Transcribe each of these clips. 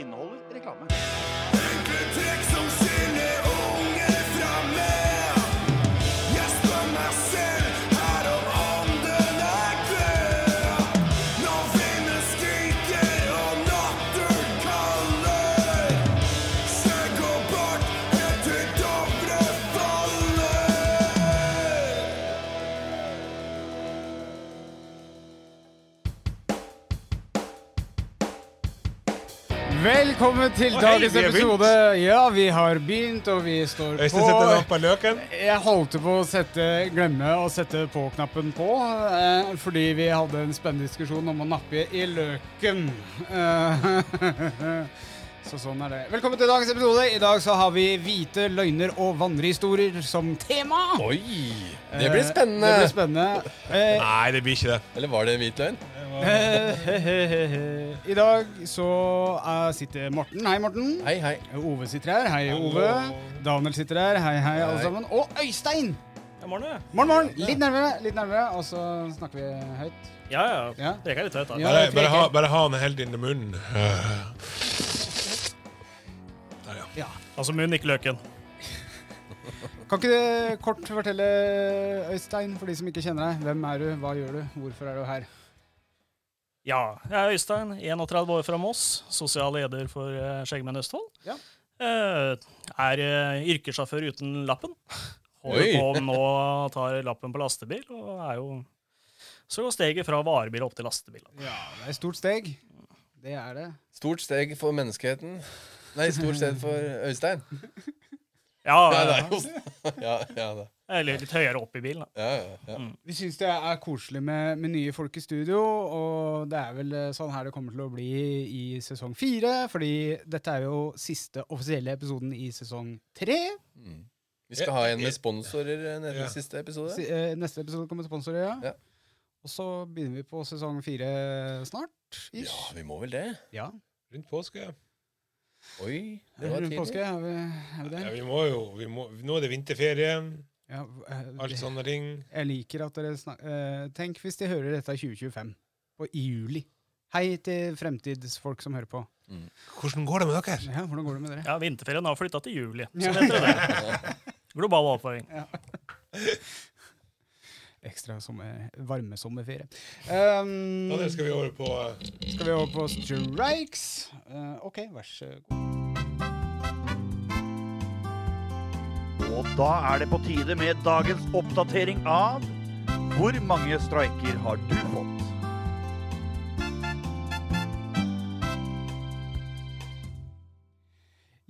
Inneholder reklame. Trekk som skiller unge fra meg. Jeg spør meg selv her om ånden er død. Når vinden skriker og natten kaller. Skjegg og bart helt til Dovre faller. Velkommen til dagens episode. Ja, vi har begynt, og vi står på. Øystein setter den opp av løken. Jeg holdt på å sette, glemme å sette på-knappen på, eh, fordi vi hadde en spennende diskusjon om å nappe i løken. Eh, så sånn er det. Velkommen til dagens episode. I dag så har vi hvite løgner og vandrehistorier som tema. Oi! Det blir spennende. Eh, Det blir spennende. Eh, Nei, det blir ikke det. Eller var det en hvit løgn? eh, I dag så eh, sitter Morten. Hei, Morten. Hei, hei. Ove sitter her. Hei, Ove. Daniel sitter her. Hei, hei, alle sammen. Og Øystein! Morgen, morgen. Litt nærmere, litt nærmere, og så snakker vi høyt. Ja, ja. Ja. Reker litt høyt, da. Ja, Bare, det er bare, ha, ikke- bare ha den helt inn i munnen. Der, ja. ja. Altså munn, ikke løken. Kan ikke du kort fortelle, Øystein, for de som ikke kjenner deg, hvem er du, hva gjør du, hvorfor er du her? Ja. Jeg er Øystein, 31 år fra Moss. Sosial leder for eh, Skjeggmenn Østfold. Ja. Eh, er eh, yrkessjåfør uten lappen. Oi. Holder på nå, tar lappen på lastebil, og er jo Så går steget fra varebil opp til lastebil. Ja, Det er et stort steg. Det er det. Stort steg for menneskeheten. Nei, stort steg for Øystein. Nei, det Ja, er jo Ja, ja, da. eller litt høyere opp i bilen. da. ja, ja, ja. Vi syns det er koselig med, med nye folk i studio, og det er vel eh, sånn her det kommer til å bli i sesong fire. Fordi dette er jo siste offisielle episoden i sesong tre. Mm. Vi skal ha en med sponsorer eh, nede i siste episode. Si- eh, Neste episode kommer sponsorer, ja. Ja. Og så begynner vi på sesong fire snart. Ja, vi må vel det. Ja. Rundt påske. Oi, det var Rundt påske tidlig. er vi, er vi Ja, der. vi må jo vi må, Nå er det vinterferie, Ja, eh, alt sånne ting. jeg liker at dere snakker Tenk hvis de hører dette i 2025, på, i juli. Hei til fremtidsfolk som hører på. Hvordan går det med dere? Ja, hvordan går det med dere? Ja, Vinterferien har flytta til juli. Ja. Så vet dere det. Global oppvarming. Ekstra sommer, varmesommerferie. Um, Daniel, skal vi over på skal vi over på strikes? Eh, OK, vær så god. Og da er det på tide med dagens oppdatering av Hvor mange streiker har du fått?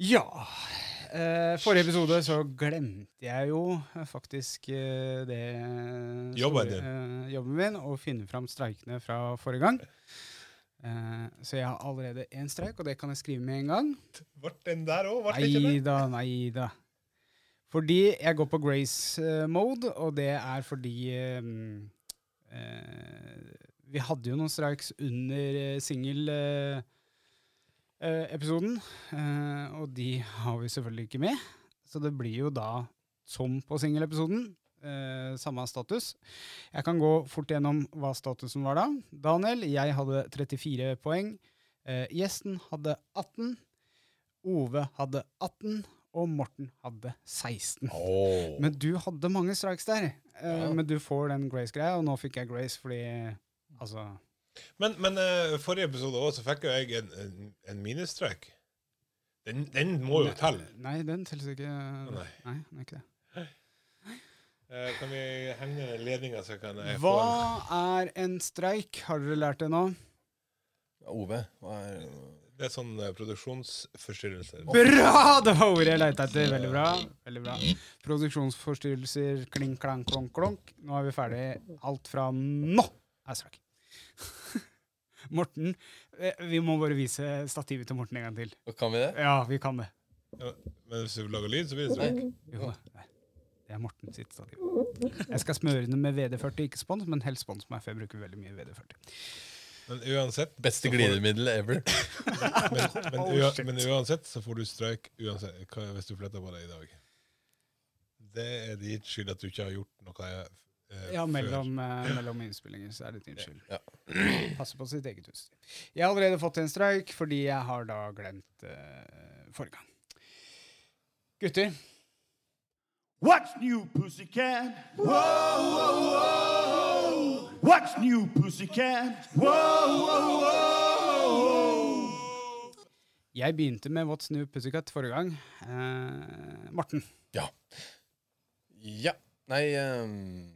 Ja. Eh, forrige episode så glemte jeg jo eh, faktisk eh, det store- Jobben din. eh, jobben min, å finne fram streikene fra forrige gang. Eh, så jeg har allerede én streik, og det kan jeg skrive med en gang. Ble den der òg? Ble det ikke Nei det? da, nei da. Fordi jeg går på grace eh, mode, og det er fordi eh, mm, eh, Vi hadde jo noen streiks under eh, uh, singel-episoden, eh, og de har vi selvfølgelig ikke med. Så det blir jo da som på singel-episoden. eh, samme status. Jeg kan gå fort gjennom hva statusen var da. Daniel, jeg hadde 34 poeng. Eh, gjesten hadde 18. Ove hadde 18, og Morten hadde 16. Åh. Men du hadde mange strikes der. Eh, Ja. Men du får den Grace-greia, og nå fikk jeg Grace fordi Altså Men, men eh, forrige episode òg, så fikk jo jeg en, en, en minusstrek. Den, den må jo telle. Nei, den teller ikke. nei. Nei, den er ikke det. Eh, kan vi henge den ledninga, så kan jeg få en Hva er en streik? Har dere lært det nå? Ove, hva er Det er sånn eh, produksjonsforstyrrelser. Bra! Det var ordet jeg leita etter. Veldig bra. Veldig bra. Produksjonsforstyrrelser, kling, klang, klonk, klonk. Nå er vi ferdig. Alt fra nå er strakk. Morten, eh, vi må bare vise stativet til Morten en gang til. Kan vi det? Ja, vi kan det. Ja, Men hvis du lager lyd, så blir det strek. Jo da. Nei. Det er Morten sitt stativ. Jeg skal smøre den med VD40, ikke spons, men helst spons meg, for jeg bruker veldig mye VD40. Men uansett Beste så får du- glidemiddel ever. Men, men, Oh, ua, shit. men uansett så får du streik uansett, hva, hvis du fletter på deg i dag. Det er ditt skyld at du ikke har gjort noe eh, Ja, før. mellom, eh, mellom innspillinger så er det din skyld. Ja. Passe på sitt eget hus. Jeg har allerede fått en streik fordi jeg har da glemt eh, forrige gang. Gutter, What's new, pussycat? Whoa, whoa, whoa. What's new, pussycat? Whoa, whoa, whoa. jeg begynte med What's New Pussycat forrige gang. Eh, Morten. Ja. Ja. Nei, ehm,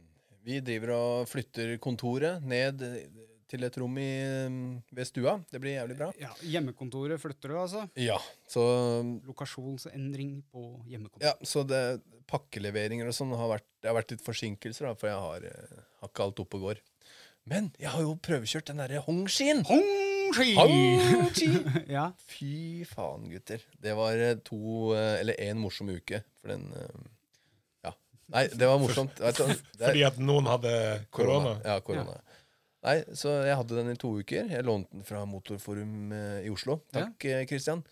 vi driver og flytter kontoret ned eh, til et rom i, ehm, ved stua. Det blir jævlig bra. Hjemmekontoret flytter du, altså? Ja, så Lokasjonsendring på hjemmekontoret. Ja, så det, pakkeleveringer og sånn har vært, det har vært litt forsinkelser, da, for jeg har, eh, har ikke alt oppe og går. Men jeg har jo prøvekjørt den derre Hongshin! Hongshi! Hongshi! ja. Fy faen, gutter. Det var eh, to eh, Eller én morsom uke, for den eh, Ja. Nei, det var morsomt. Vet du hva, det er- Fordi at noen hadde korona. Ja, korona. Nei, så jeg hadde den i to uker. Jeg lånte den fra Motorforum eh, i Oslo. Takk, eh, Christian.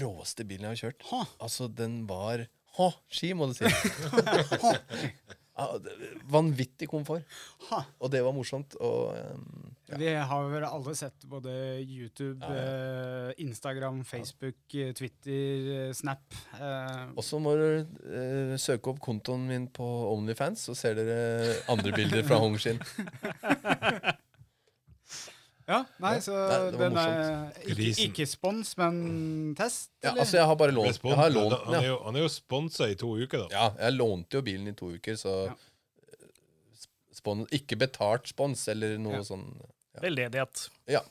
Råeste bilen jeg har kjørt. Ha. Altså, den var Ha, ski, må du si. Ha. Ja, det- Vanvittig komfort. Ha. Og det var morsomt. Og ehm, ja. Vi har vel alle sett både YouTube, eh, Instagram, Facebook, eh, Twitter, eh, Snap. eh, Og så må du eh, søke opp kontoen min på Onlyfans, så ser dere andre bilder fra Hongshin. ja, nei, så Nei, det var den er morsomt. ikke, Grisen. ikke spons, men test, Ja, eller? altså, jeg har bare lånt, Respons- jeg har han, lånt den. er Ja. jo, han er jo sponsa i to uker, da. ja, jeg lånte jo bilen i to uker, så Ja. eh, spon, Ikke betalt spons eller noe Ja. sånn eh, Veldedighet. Ja.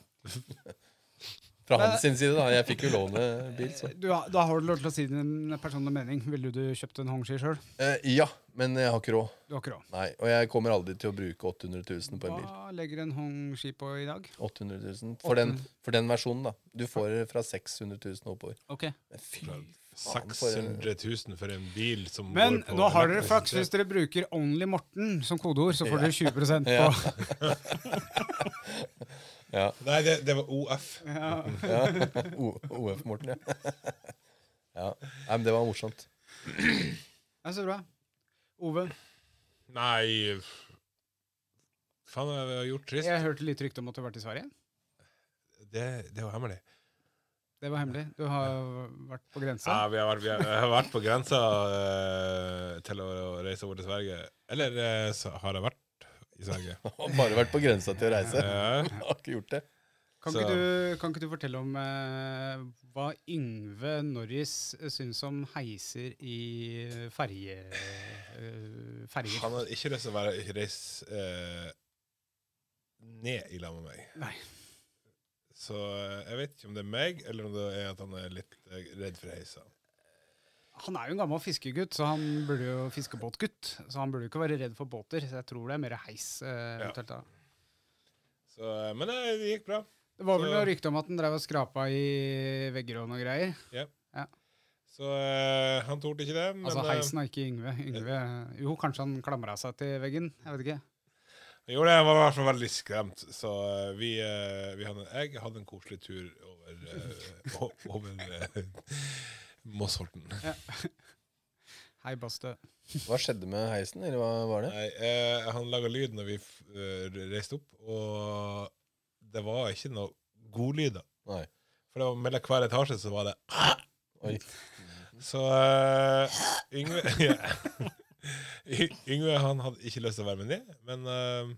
Fra Men- hans sin side, da. Jeg fikk jo låne bil, så. du, har- da har du lov til å si din personlige mening. Ville du kjøpt en Hongshi sjøl? Eh, ja, men jeg har ikke råd. Du har ikke råd. Nei, Og jeg kommer aldri til å bruke 800 000 på en bil. Hva legger en Hongshi på i dag? 800 000. For den, for den versjonen, da. Du får fra 600 000 oppover. Ok. Men Fy faen, for en- 600 000 for en bil som Men går på nå har dere elektrisitet. flaks. Hvis dere bruker Only Morten som kodeord, så får dere 20 på Ja. Nei, det, det var OF. Ja. O- OF-Morten, ja. ja. Nei, men det var morsomt. Ja, Så bra. Ove, Nei f- Faen, hva har jeg gjort trist? jeg hørte litt rykte om at du har vært i Sverige. Det, det var hemmelig. Det var hemmelig. Du har vært på grensa. Ja, vi har vært, vi har, jeg har vært på grensa eh, til å, å reise over til Sverige. Eller eh, så har jeg vært i Sverige. Har Bare vært på grensa til å reise. Eh, Har ikke gjort det. Kan Så- ikke, du, kan ikke du fortelle om eh, hva Yngve Norris eh, syns om heiser i ferje... eh, ferjer? han har ikke lyst til å være reise eh, ned i lag med meg. Nei. Så eh, jeg vet ikke om det er meg, eller om det er at han er litt eh, redd for heisa. Han er jo en gammel fiskegutt, så han burde jo fiskebåtgutt. Så han burde jo ikke være redd for båter. Så jeg tror det er mer heis. eh, eventuelt da. Så, eh, men eh, det gikk bra. Det var vel Så- noe rykte om at han drev og skrapa i vegger og noe greier. Så eh, han torde ikke det. Men altså eh, heisen er ikke Yngve. Yngve jo, kanskje han klamra seg til veggen. Jeg vet ikke. han gjorde det. Han var i hvert fall veldig skremt. Så eh, vi, eh, vi hadde, jeg hadde en koselig tur over, eh, o- over eh, Mossholten. Hei, Bastø. Hva skjedde med heisen, eller hva var det? Nei, eh, han laga lyd når vi f- eh, reiste opp, og det var ikke noe godlyder. Nei. For det var mellom hver etasje så var det Oi. Så eh, Yngve ja. Y- Yngve han hadde ikke lyst til å være med ned, men eh,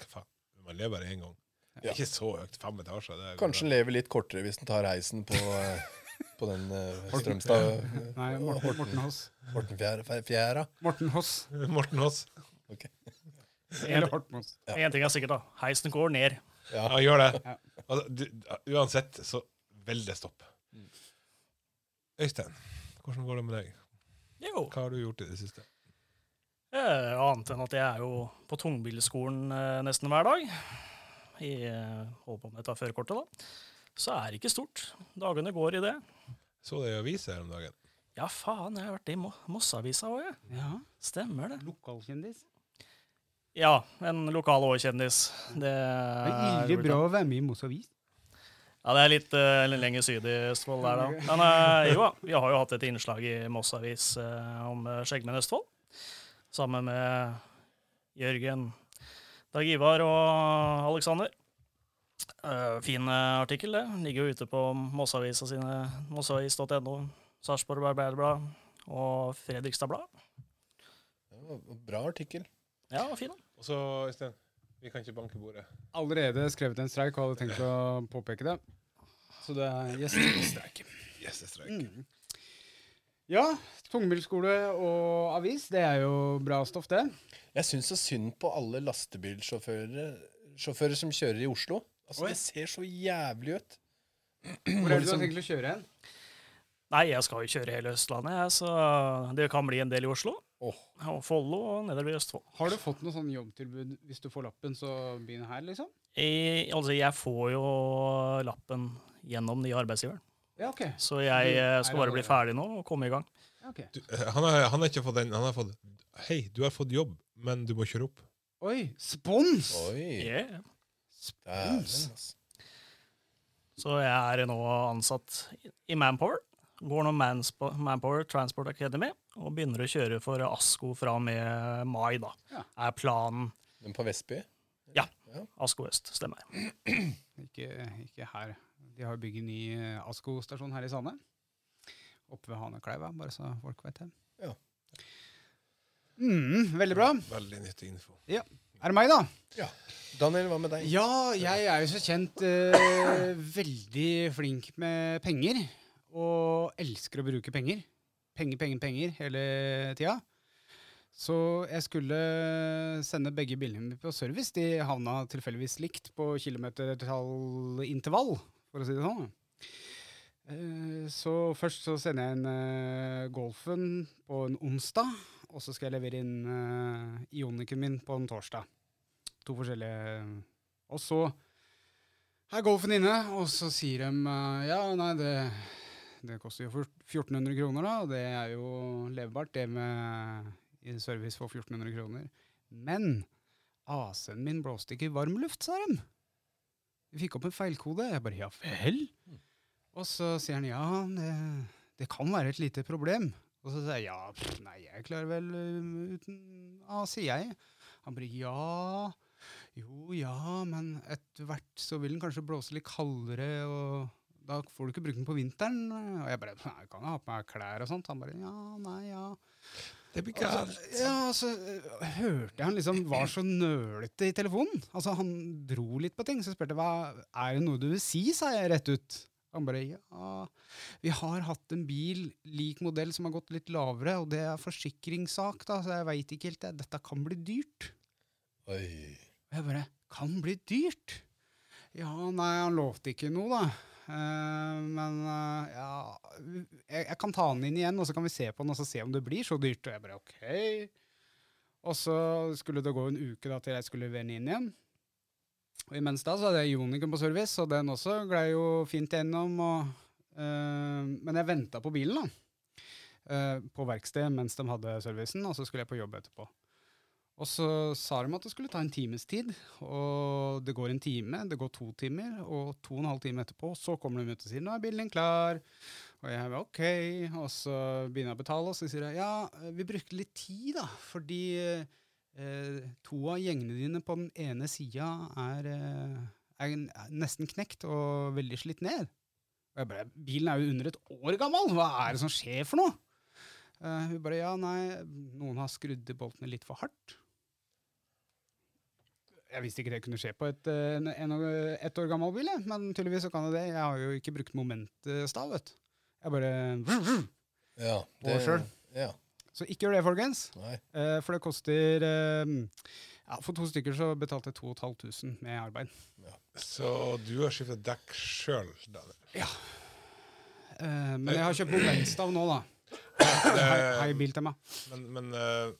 hva faen? Man lever bare én gang. Det Ja. er ikke så høyt. Fem etasjer. Det går Kanskje bra. den lever litt kortere hvis den tar heisen på, eh, på den eh, Strømstad eh, Nei, Morten, Morten Hoss. Hortenfjæra. Morten Hoss. Morten Aas. Eller Horten Hoss. Ja. Én ting er sikkert, da. Heisen går ned. Ja. Han gjør det. Ja. Altså, du, uansett så vil det stoppe. Mm. Øystein, hvordan går det med deg? Jo. Hva har du gjort i det siste? Eh, annet enn at jeg er jo på tungbilskolen eh, nesten hver dag. I, eh, holder på med dette førerkortet, da. Så er det ikke stort. Dagene går i det. Så det i avisa her om dagen. Ja, faen, jeg har vært i Mo Mosseavisa òg, jeg. Ja. Stemmer det. Lokalkjendis. Ja, en lokal årkjendis. Det Det er er ille bra å være med i Moss Avis. Ja, det er litt eh, litt lenger syd i Østfold der, da. Men eh, jo, da, vi har jo hatt et innslag i Moss Avis eh, om eh, Skjeggmenn Østfold. Sammen med Jørgen, Dag Ivar og Aleksander. Eh, fin eh, artikkel, det. Ligger jo ute på Mosseavisa sine, mosseavis.no, Sarpsborg Arbeiderblad og Fredrikstad Blad. Det var en Bra artikkel. Ja, fin. da. Og så, Øystein, vi kan ikke banke bordet. Allerede skrevet en streik og hadde tenkt å påpeke det. Så det er gjestestreik. Yes, det er streik. Mm. Ja, tungbilskole og avis, det er jo bra stoff, det. Jeg syns så synd på alle lastebilsjåfører sjåfører som kjører i Oslo. Altså, Oi. Det ser så jævlig ut. Hvor er det du har tenkt å kjøre hen? Nei, jeg skal jo kjøre hele Østlandet, jeg, så det kan bli en del i Oslo. Åh. Og Follo og nedover i Østfold. Har du fått noe sånn jobbtilbud hvis du får lappen, så begynn her, liksom? I, altså, jeg får jo lappen gjennom nye arbeidsgiveren. Ja, ok. Så jeg Du eh, Mm. er skal bare bli allerede- ferdig nå og komme i gang. Ja, ok. Du, eh, han, har, han har ikke fått den. Han har fått Hei, du har fått jobb, men du må kjøre opp. Oi, spons! Oi. Yeah. Dæven, Spons! altså. Så jeg er nå ansatt i Manpower. Går nå Manspo Manpower Transport Academy og begynner å kjøre for Asko fra og med mai, da. Ja. Er planen Den på Vestby? Asko øst, stemmer. Ikke, ikke her. De har bygget ny eh, ASKO-stasjon her i Sande. Oppe ved Hanekleiva, bare så folk vet det. Ja. Mm, veldig bra. Veldig nyttig info. Er det meg, da? Daniel, hva med deg? Ja, jeg er jo så kjent eh, veldig flink med penger. Og elsker å bruke penger. Penger, penger, penger hele tida. Så jeg skulle sende begge bilene mine på service. De havna tilfeldigvis likt på kilometertallintervall, for å si det sånn. Eh, Så først så sender jeg en eh, Golfen på en onsdag, og så skal jeg levere inn eh, Ioniken min på en torsdag. To forskjellige og så er golfen inne, og så sier de eh, ja, nei, det, det koster jo fjort- 1400 kroner, da. og Det er jo levebart, det med i service for 1400 kroner. Men AC-en min blåste ikke i varm luft, sa de. Vi fikk opp en feilkode. Jeg bare ja vel? Og så sier han ja, det, det kan være et lite problem. Og så sier jeg ja, pff, nei, jeg klarer vel ø, uten AC, jeg. Han bare ja. Jo, ja, men etter hvert så vil den kanskje blåse litt kaldere, og da får du ikke bruke den på vinteren. Og jeg bare Nei, kan jeg ha på meg klær og sånt? Han bare Ja, nei, ja. Det blir Og så- Ja, og så eh, hørte jeg han liksom var så nølete i telefonen. Altså, han dro litt på ting. Så spurte jeg hva er det noe du vil si, sa jeg rett ut. Han bare ja, vi har hatt en bil lik modell som har gått litt lavere, og det er forsikringssak, da, så jeg veit ikke helt. jeg. Dette kan bli dyrt. Oi. Og jeg bare Kan bli dyrt? Ja, nei, han lovte ikke noe, da. Eh, men eh, ja jeg, jeg kan ta den inn igjen, og så kan vi se på den og så se om det blir så dyrt. Og jeg bare OK. Og så skulle det gå en uke da til jeg skulle levere den inn igjen. Og imens da så hadde jeg Joniken på service, og den også glei jo fint gjennom. Og, eh, men jeg venta på bilen, da. eh, på verkstedet mens de hadde servicen, og så skulle jeg på jobb etterpå. Og så sa de at det skulle ta en times tid, og det går en time, det går to timer, og to og en halv time etterpå, så kommer de ut og sier 'nå er bilen din klar', og jeg er ok, og så begynner jeg å betale, og så sier jeg 'ja, vi brukte litt tid, da, fordi eh, to av gjengene dine på den ene sida er, eh, er n- er nesten knekt og veldig slitt ned'. Og jeg bare 'bilen er jo under et år gammel, hva er det som skjer for noe?' Eh, hun bare 'ja, nei, noen har skrudd til boltene litt for hardt' jeg visste ikke det kunne skje på et, eh, en, en, ett år gammel bil, jeg. men tydeligvis så kan det det. Jeg har jo ikke brukt momentstav, vet du. Jeg bare Ja, På selv. Ja, Så ikke gjør det, folkens. nei. Eh, For det koster eh, ja, For to stykker så betalte jeg 2500 med arbeid. Så du har skifta dekk sjøl, Daniel. Eh, Men jeg har kjøpt momentstav nå, da. Hei, Eh, hei Biltema. Men, men eh,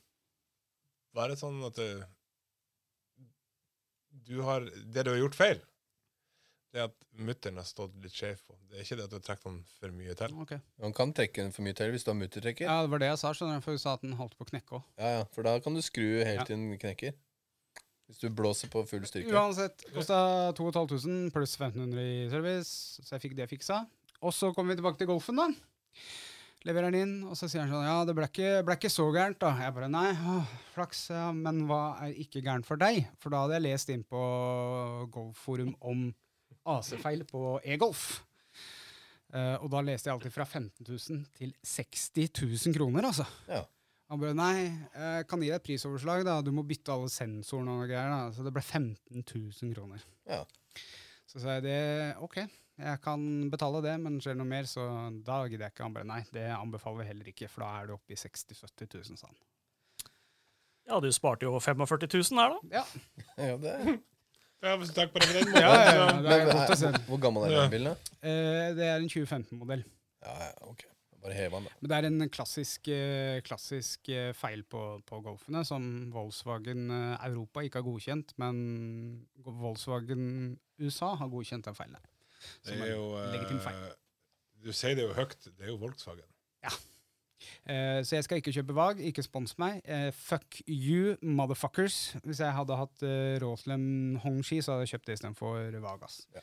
var det sånn at du, du har Det du har gjort feil, det er at mutter'n har stått litt skjev på. Det er ikke det at du har trukket den for mye til. Ok. Man kan trekke den for mye til hvis du har muttertrekker. Ja. Ja, det var det jeg sa, skjønner du. For hun sa at den holdt på å knekke òg. ja, For da kan du skru helt til den knekker. Hvis du blåser på full styrke. Uansett, kosta 2500 pluss 1500 i service, så jeg fikk det fiksa. Og så kommer vi tilbake til golfen, da. Leverer den inn, og så sier han sånn Ja, det ble ikke, ble ikke så gærent, da. Jeg bare Nei, åh, flaks, ja, men hva er ikke gærent for deg? For da hadde jeg lest inn på golfforum om AC-feil på e-golf. Eh, og da leste jeg alltid fra 15 000 til 60 000 kroner, altså. Ja. Han bare Nei, jeg kan gi deg et prisoverslag, da. Du må bytte alle sensorene og noe greier. da. Så det ble 15 000 kroner. Ja. Så sa jeg det, OK, jeg kan betale det, men skjer det noe mer, så da gidder jeg ikke. Han bare Nei, det anbefaler vi heller ikke, for da er du oppe i 60 000-70 000, sa han. Ja, du sparte jo 45 000 her, da. Ja, Ja, det er. Ja, hvis du takk på det på den ja, måten. ja, eh, ja, det Men, eh, er godt å se. hvor- hvor gammel er Ja. den bilen, da? Eh, Det er en 2015-modell. Ja, ja, ok. Bare heve den, da. Men det er en klassisk, eh, klassisk eh, feil på, på Golfene, som Volkswagen eh, Europa ikke har godkjent, men Volkswagen USA har godkjent den feilen. her. Det Som er en jo legitim feil. eh, Du sier det jo høyt. Det er jo Volkswagen. Eh, så jeg skal ikke kjøpe VAG, ikke spons meg. Eh, fuck you, motherfuckers. Hvis jeg hadde hatt eh, råd til en Hongxi, så hadde jeg kjøpt det istedenfor VAG. ass. Ja.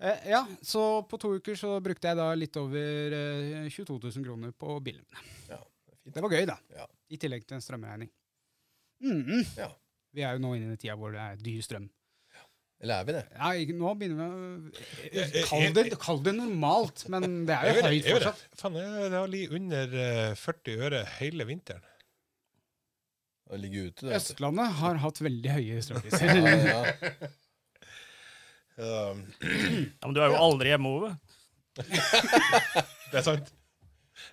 Eh, ja, så på to uker så brukte jeg da litt over eh, 22 000 kroner på bilen. Ja, det er fint. Det var gøy, da. Ja. I tillegg til en strømregning. Mhm. Ja. Vi er jo nå inne i den tida hvor det er dyr strøm. Eller er vi det? Ja, ikke, nå begynner vi Ja, å jeg- Kall det, kall det normalt, men det er Jeg jo gjør det, høyt jeg gjør det. fortsatt. Faen, jeg det har ligget under eh, 40 øre hele vinteren. Å ligge ute, det. vet du. Østlandet har hatt veldig høye Ja, strømpriser. ja. Ja, Men du er jo aldri hjemme, Ove. Det er sant.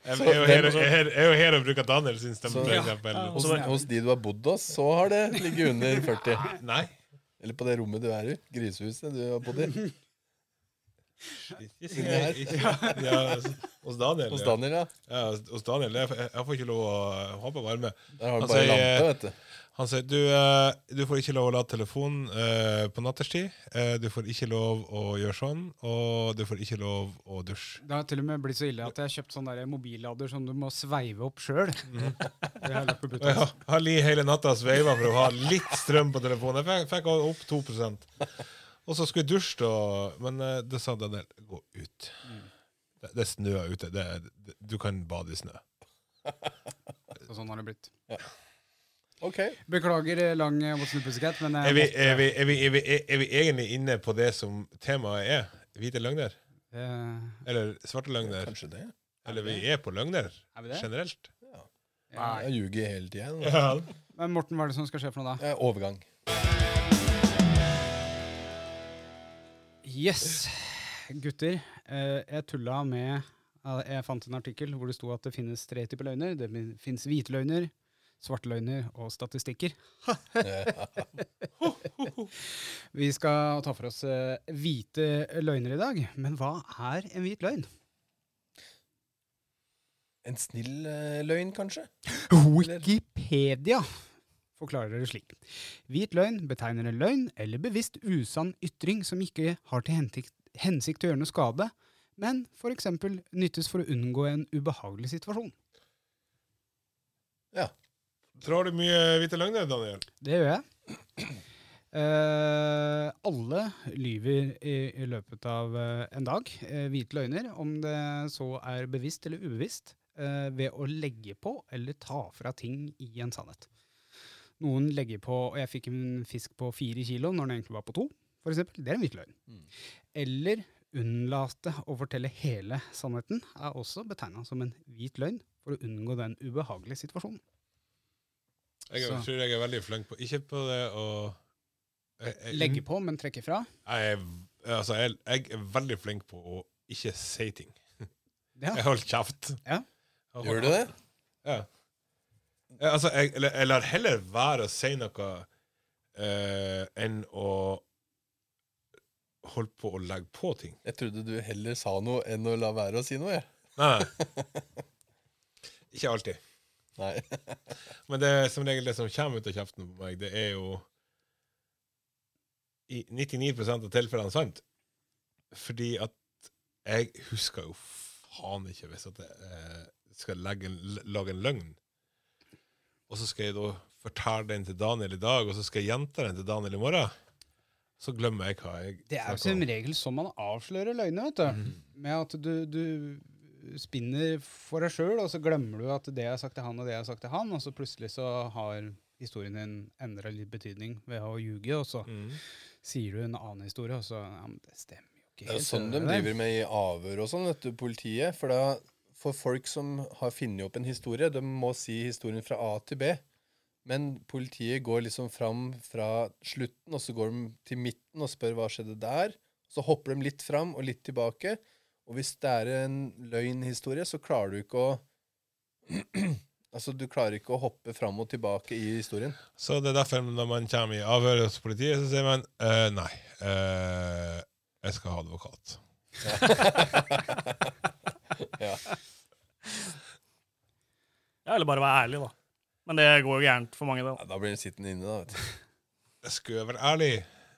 Jeg, Så jeg, er jo den her- også- jeg, er- jeg er jo her og bruker Daniel sin stemme, Så- for Ja. eksempel. Ja. Hos, hos de du har bodd hos, så har det ligget under 40. Nei. Eller på det rommet du er i. Grisehuset du har bodd i. Ikke, si det. Ikke- ja, altså, hos Daniel. Hos ja. Daniel, ja. Ja, hos Daniel. Jeg, jeg får ikke lov å ha på varme. Der har Han du bare sier, lampe, vet du. Han sier du, eh, du får ikke lov å lade telefonen eh, på nattestid. eh, du får ikke lov å gjøre sånn, og du får ikke lov å dusje. Det har til og med blitt så ille at jeg har kjøpt sånn der mobillader som du må sveive opp sjøl. Og jeg har- har li hele natta sveiva for å ha litt strøm på telefonen. Jeg fikk, fikk opp 2 Og så skulle jeg dusje, da, men eh, det sa Daniel gå ut. Mm. Det, det snør ute. Det, det, du kan bade i snø. Så sånn har det blitt. Ok. Beklager eh, lang eh, What's New Pussycat, men Er jeg vi, måtte- er, vi, er, vi, er, vi, er vi egentlig inne på det som temaet er? Hvite løgner? Eh, Eller svarte løgner? Kanskje det. Eller vi er på løgner Er vi det? generelt? Jeg ljuger hele tiden. da. Ja. Men Morten, hva er det som skal skje for noe da? Eh, Overgang. Yes, gutter. eh, jeg tulla med eh, Jeg fant en artikkel hvor det sto at det finnes tre typer løgner. Det fins hvite løgner, svarte løgner og statistikker. Vi skal ta for oss eh, hvite løgner i dag. Men hva er en hvit løgn? En snill eh, løgn, kanskje? Wikipedia forklarer det slik. Hvit løgn betegner en løgn eller bevisst usann ytring som ikke har til hensikt, hensikt til å gjøre noe skade, men f.eks. nyttes for å unngå en ubehagelig situasjon. Tror du mye hvite løgner, Daniel? Det gjør jeg. Eh, alle lyver i, i løpet av eh, en dag. Eh, hvite løgner, om det så er bevisst eller ubevisst, eh, ved å legge på eller ta fra ting i en sannhet. Noen legger på og 'jeg fikk en fisk på fire kilo når den egentlig var på to', for eksempel. Det er en hvit løgn. Mm. Eller unnlate å fortelle hele sannheten er også betegna som en hvit løgn for å unngå den ubehagelige situasjonen. Jeg er- Så. tror jeg er veldig flink på Ikke på det å jeg- jeg- Legge på, men trekke fra. Jeg, er- altså, jeg, jeg er veldig flink på å ikke si ting. Ja. Jeg holder kjeft. Ja. Jeg Gjør holder- du det? Ja. Ja, altså, jeg, eller, jeg lar heller være å si noe eh, enn å holde på å legge på ting. Jeg trodde du heller sa noe enn å la være å si noe. jeg. Nei, nei. Ikke alltid. Nei. Men det er som regel det som kommer ut av kjeften på meg, det er jo i 99 av tilfellene sant. Fordi at jeg husker jo faen ikke hvis at jeg eh, skal legge en, lage en løgn. Og så skal jeg da fortelle den til Daniel i dag, og så skal jeg gjenta den til Daniel i morgen, så glemmer jeg hva jeg Det er jo snakker som om. regel sånn man avslører løgner, vet Mhm. du. Med at du, du spinner for deg sjøl, og så glemmer du at det jeg har sagt til han, og det jeg har sagt til han, og så plutselig så har historien din endra litt betydning ved å ljuge, og så Mhm. Mm. sier du en annen historie, og så Ja, men det stemmer jo ikke Det er helt. jo sånn de der. driver med i avhør og sånn, vet du, politiet. For da, for folk som har funnet opp en historie, de må si historien fra A til B. Men politiet går liksom fram fra slutten, og så går de til midten og spør hva skjedde der. Så hopper de litt fram og litt tilbake. Og hvis det er en løgnhistorie, så klarer du ikke å Altså, du klarer ikke å hoppe fram og tilbake i historien. Så det er derfor når man kommer i avhør hos politiet, så sier man «Eh, nei, eh, jeg skal ha advokat. Ja, eller bare være ærlig, da. Men det går jo gærent for mange, det. da. Ja, da blir du sittende inne, da. vet du. Jeg skulle være ærlig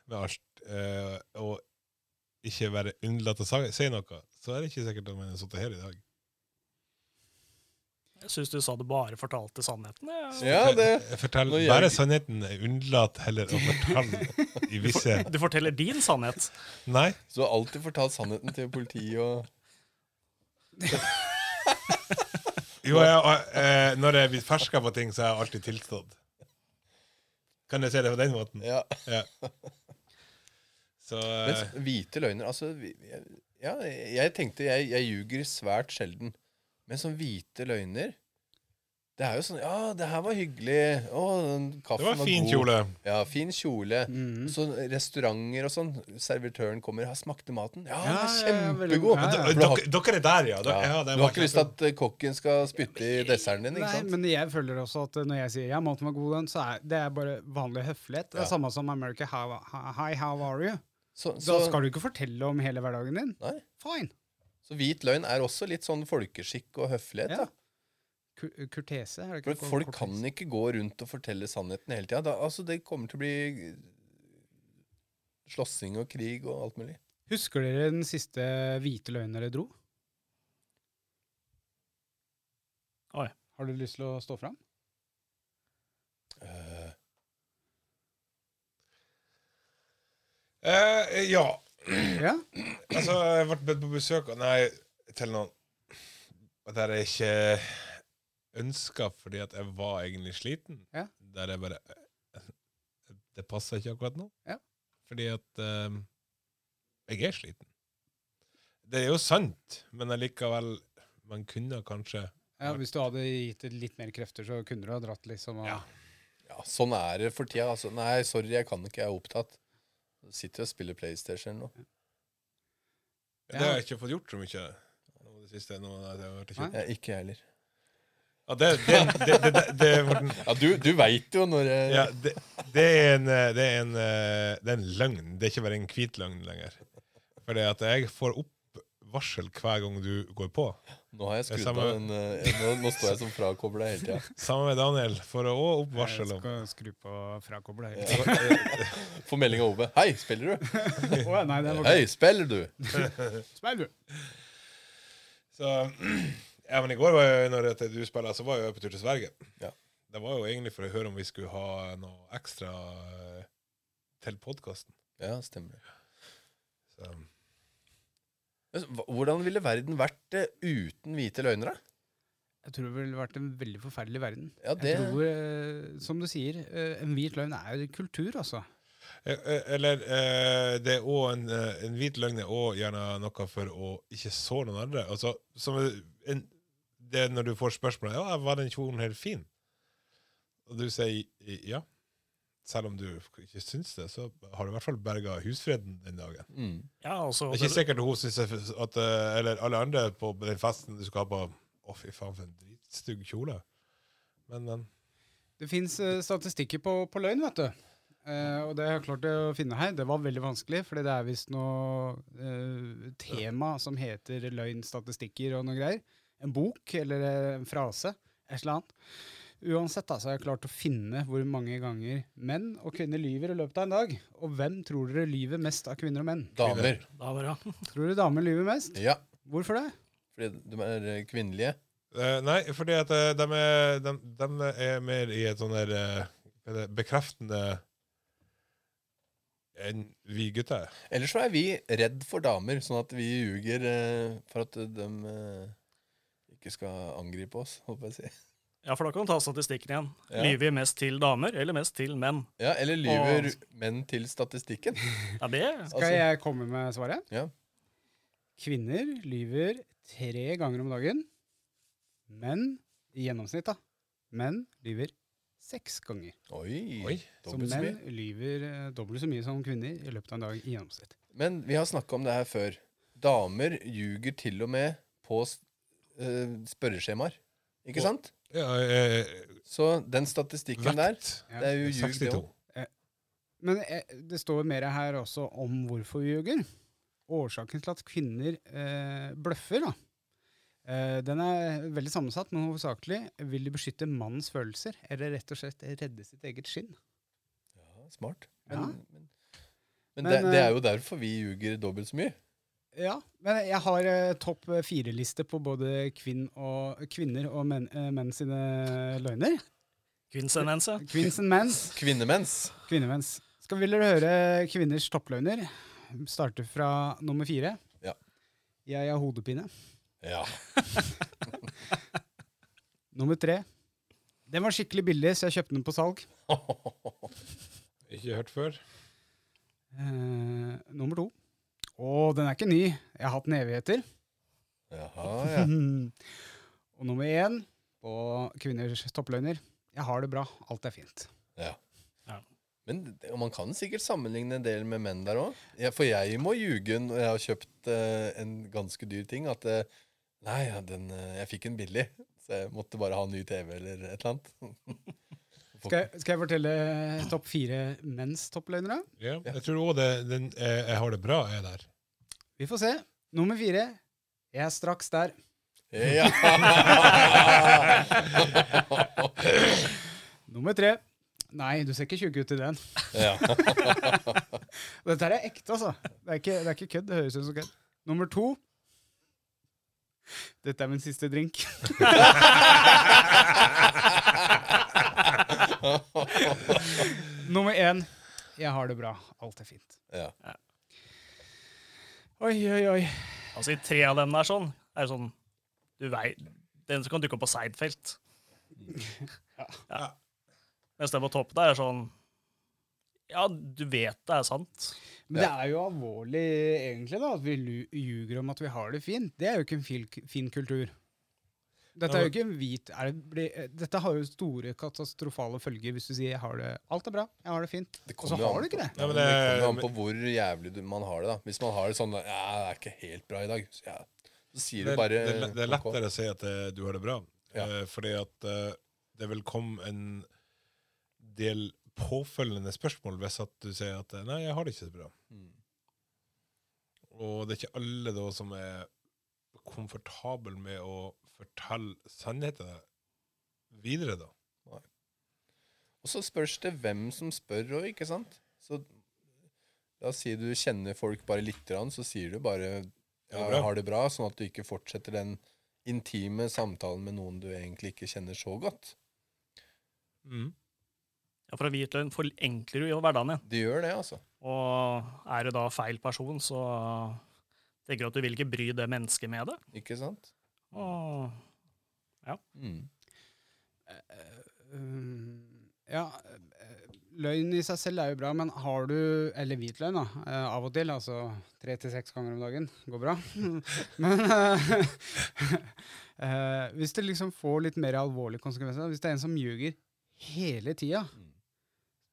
med alt, eh, og ikke være unnlatt å sa- si noe, så er det ikke sikkert at man hadde sittet her i dag. Jeg syns du sa du bare fortalte sannheten. jeg. Ja, det... Jeg forteller Nå gjør bare jeg- sannheten. Jeg unnlater heller å fortelle i visse Du forteller din sannhet. Nei, Så du har alltid fortalt sannheten til politiet og jo, jeg, eh, når jeg blir ferska på ting, så har jeg alltid tilstått. Kan jeg si det på den måten? Ja. Så, Men eh, s- hvite løgner Altså, vi- jeg, ja, jeg jeg tenkte jeg, jeg ljuger svært sjelden. Men sånn hvite løgner Det er jo sånn Ja, det her var hyggelig. Å, den kaffen det var, var fin god. kjole. Ja, fin kjole. Mhm. Så restauranter og sånn. Servitøren kommer. Ja, 'Smakte maten?' Ja, Ja, ja, veldig kjempegod. god. Ja, ja. For du har, Dere, dere er der, ja. Dere, ja ja, det du var har ikke lyst til at eh, kokken skal spytte i desserten din, ikke Nei, sant? men jeg føler også at når jeg sier ja, maten var god, den, så er det er bare vanlig høflighet. Det Ja. er samme som America, how, hi, how are you? Så, Da så, skal du ikke fortelle om hele hverdagen din. nei. Fine. så hvit løgn er også litt sånn folkeskikk og høflighet, Ja. da. Kur- Kurtese, er det For ikke? at folk kan ikke gå rundt og fortelle sannheten hele tida. Altså, det kommer til å bli eh, slåssing og krig og alt mulig. Husker dere den siste hvite løgnen dere dro? Oi. Har du lyst til å stå fram? Eh, ja. Ja. Altså, jeg ble bedt på besøk og Nei, til noen. Og Der jeg ikke ønska fordi at jeg var egentlig sliten. Ja. Der jeg bare Det passer ikke akkurat nå. Ja. Fordi at eh, jeg er sliten. Det er jo sant, men allikevel Man kunne kanskje ja. Hvis du hadde gitt det litt mer krefter, så kunne du ha dratt liksom og Ja. Ja, sånn er det for tida. Altså, nei, sorry, jeg kan ikke, jeg er opptatt. Sitter og spiller PlayStation nå. Ja. Det har jeg ikke fått gjort så mye. nå i Det siste, nå, har jeg vært i kjøkken. Jeg, ikke jeg heller. ja, det, det, det, det, det, det var den Ja, du, du veit jo når jeg Ja, det, det, er en, eh, det, er en, eh, det er en løgn. Det er ikke bare en hvit løgn lenger. Fordi at jeg får opp varsel hver gang du går på. Nå har jeg Det er skrudd samme- av den eh, nå, nå står jeg som frakobla hele tida. Sammen med Daniel får jeg òg opp Jeg varsel om skal skru på frakoblet. her. Ja. Får melding av Ove. 'Hei, spiller du?' Å, ja, nei, det var Hei, spiller du? Smell, du. Så ja, men i går, var jo, når at du spilla, så var jo jeg på tur til Sverige. Ja. Det var jo egentlig for å høre om vi skulle ha noe ekstra eh, til podkasten. Ja, stemmer det. Så Men Altså, hva- Hvordan ville verden vært eh, uten hvite løgnere? Jeg tror det ville vært en veldig forferdelig verden. Ja, det- Jeg tror, eh, som du sier, eh, en hvit løgn er kultur, altså. Eh, eh, Eller eh, det er òg en, eh, en hvit løgn er òg gjerne noe for å ikke såre noen andre. Altså, som en, det er når du får spørsmålet ja, 'Var den kjolen helt fin?' og du sier i- ja, selv om du ikke syns det, så har du i hvert fall berga husfreden den dagen. Mm. Ja, altså, Det er ikke sikkert hun syns at eh, Eller alle andre på den festen du skal ha på 'Å, fy faen, for en dritstygg kjole'. Men, men Det fins statistikker på, på løgn, vet du. Eh, og det har jeg klart å finne her. Det var veldig vanskelig, fordi det er visst noe eh, tema som heter løgnstatistikker og noe greier. En bok eller eh, en frase. Et eller annet. Uansett da, så har jeg klart å finne hvor mange ganger menn og kvinner lyver i løpet av en dag. Og hvem tror dere lyver mest av kvinner og menn? Damer. Da var det- Tror dere damer lyver mest? Ja. Hvorfor det? Fordi de er eh, kvinnelige. Eh, nei, fordi at eh, de er, de, de er mer i et sånn der eh, hva er det, bekreftende enn vi gutter. Ellers så er vi redd for damer, sånn at vi ljuger eh, for at de eh, ikke skal angripe oss, håper jeg å si. Ja, for da kan du ta statistikken igjen. Ja. Lyver vi mest til damer, eller mest til menn? Ja, eller lyver menn til statistikken? Ja, det Skal jeg komme med svaret? Altså- Ja. Kvinner lyver tre ganger om dagen. Menn, i gjennomsnitt, da. Menn lyver seks ganger. Oi, Oi. Så dobbelt så menn mye. lyver eh, dobbelt så mye som kvinner i løpet av en dag i gjennomsnitt. Men vi har snakka om det her før. Damer ljuger til og med på s- eh, spørreskjemaer. Ikke Og- sant? Ja, eh, Så den statistikken der, vekt Ja. det er jo ljug, det 62. òg. Men eh, det står mer her også om hvorfor vi ljuger. Årsaken til at kvinner eh, bløffer, da. Eh, den er veldig sammensatt, men hovedsakelig vil de beskytte mannens følelser, eller rett og slett redde sitt eget skinn. Ja, smart. Men, Ja. men, men, Men, det, det eh, er jo derfor vi ljuger dobbelt så mye. Ja, men jeg har eh, topp fire-liste på både kvinn og, kvinner og menn, eh, menn sine løgner. Kvinnsendense. Kvinns and men's. Kvinnemens. Kvinnemenns. Skal vil dere høre kvinners toppløgner? Starter fra nummer fire. Ja. Jeg har hodepine. Ja. Nummer tre. Den var skikkelig billig, så jeg kjøpte den på salg. Ikke hørt før. Eh, nummer to. Å, den er ikke ny. Jeg har hatt den i evigheter. Jaha, ja. og nummer én på kvinners toppløgner. Jeg har det bra. Alt er fint. Men d- og man kan sikkert sammenligne en del med menn der òg. Ja, for jeg må ljuge når jeg har kjøpt eh, en ganske dyr ting, at eh, Nei, ja, den, eh, jeg fikk den billig, så jeg måtte bare ha en ny TV eller et eller annet. Skal jeg, skal jeg fortelle topp fire menns toppløgnere? Ja. Jeg tror òg den eh, 'jeg har det bra' er der. Vi får se. Nummer fire. Jeg er straks der. Ja. Nummer tre. Nei, du ser ikke tjukk ut i den. ja. Dette her er ekte, altså. Det er ikke, det er ikke kødd. Det høres ut som kødd. Nummer to. Dette er min siste drink. Nummer én. Jeg har det bra. Alt er fint. ja. Oi, oi, oi. Altså, i tre av dem der sånn, er det sånn Du vei, Den som kan dukke opp på Seidfeld. Ja. Mens den på toppen der er sånn Ja, du vet det er sant. Men det er jo alvorlig, egentlig, da, at vi lu- ljuger om at vi har det fint. Det er jo ikke en fin, fin kultur. Dette er jo ikke en hvit er det, blir- eh, Dette har jo store katastrofale følger hvis du sier jeg har det, 'alt er bra, jeg har det fint', Det og så kommer jo har an du ikke det. Ja, men det kommer jo an det- på hvor jævlig du- man har det. da Hvis man har det sånn Ja, det er ikke helt bra i dag. Så, ja. så sier Det, du bare det, det er ok. lettere å si at eh, du har det bra, Ja. Eh, fordi at eh, det vil komme en del påfølgende spørsmål hvis at du sier at eh, 'nei, jeg har det ikke så bra'. Mm. Og det er ikke alle da som er komfortable med å fortelle sannheten videre, da. Og så spørs det hvem som spør òg, ikke sant? Så da sier du kjenner folk bare litt, grann, så sier du bare ja, Ja, bra. har det bra, sånn at du ikke fortsetter den intime samtalen med noen du egentlig ikke kjenner så godt. Mm. Ja, For å hvite løgn forenkler jo hverdagen din. Det gjør det, altså. Og er du da feil person, så tenker du at du vil ikke bry det mennesket med det. Ikke sant? Og Mm. Um, ja, eh, løgn i seg selv er jo bra, men har du Eller hvitløgn, da. eh, av og til. Altså tre til seks ganger om dagen. Går bra. men eh, eh, hvis det liksom får litt mer alvorlige konsekvenser, da, hvis det er en som ljuger hele tida Mm.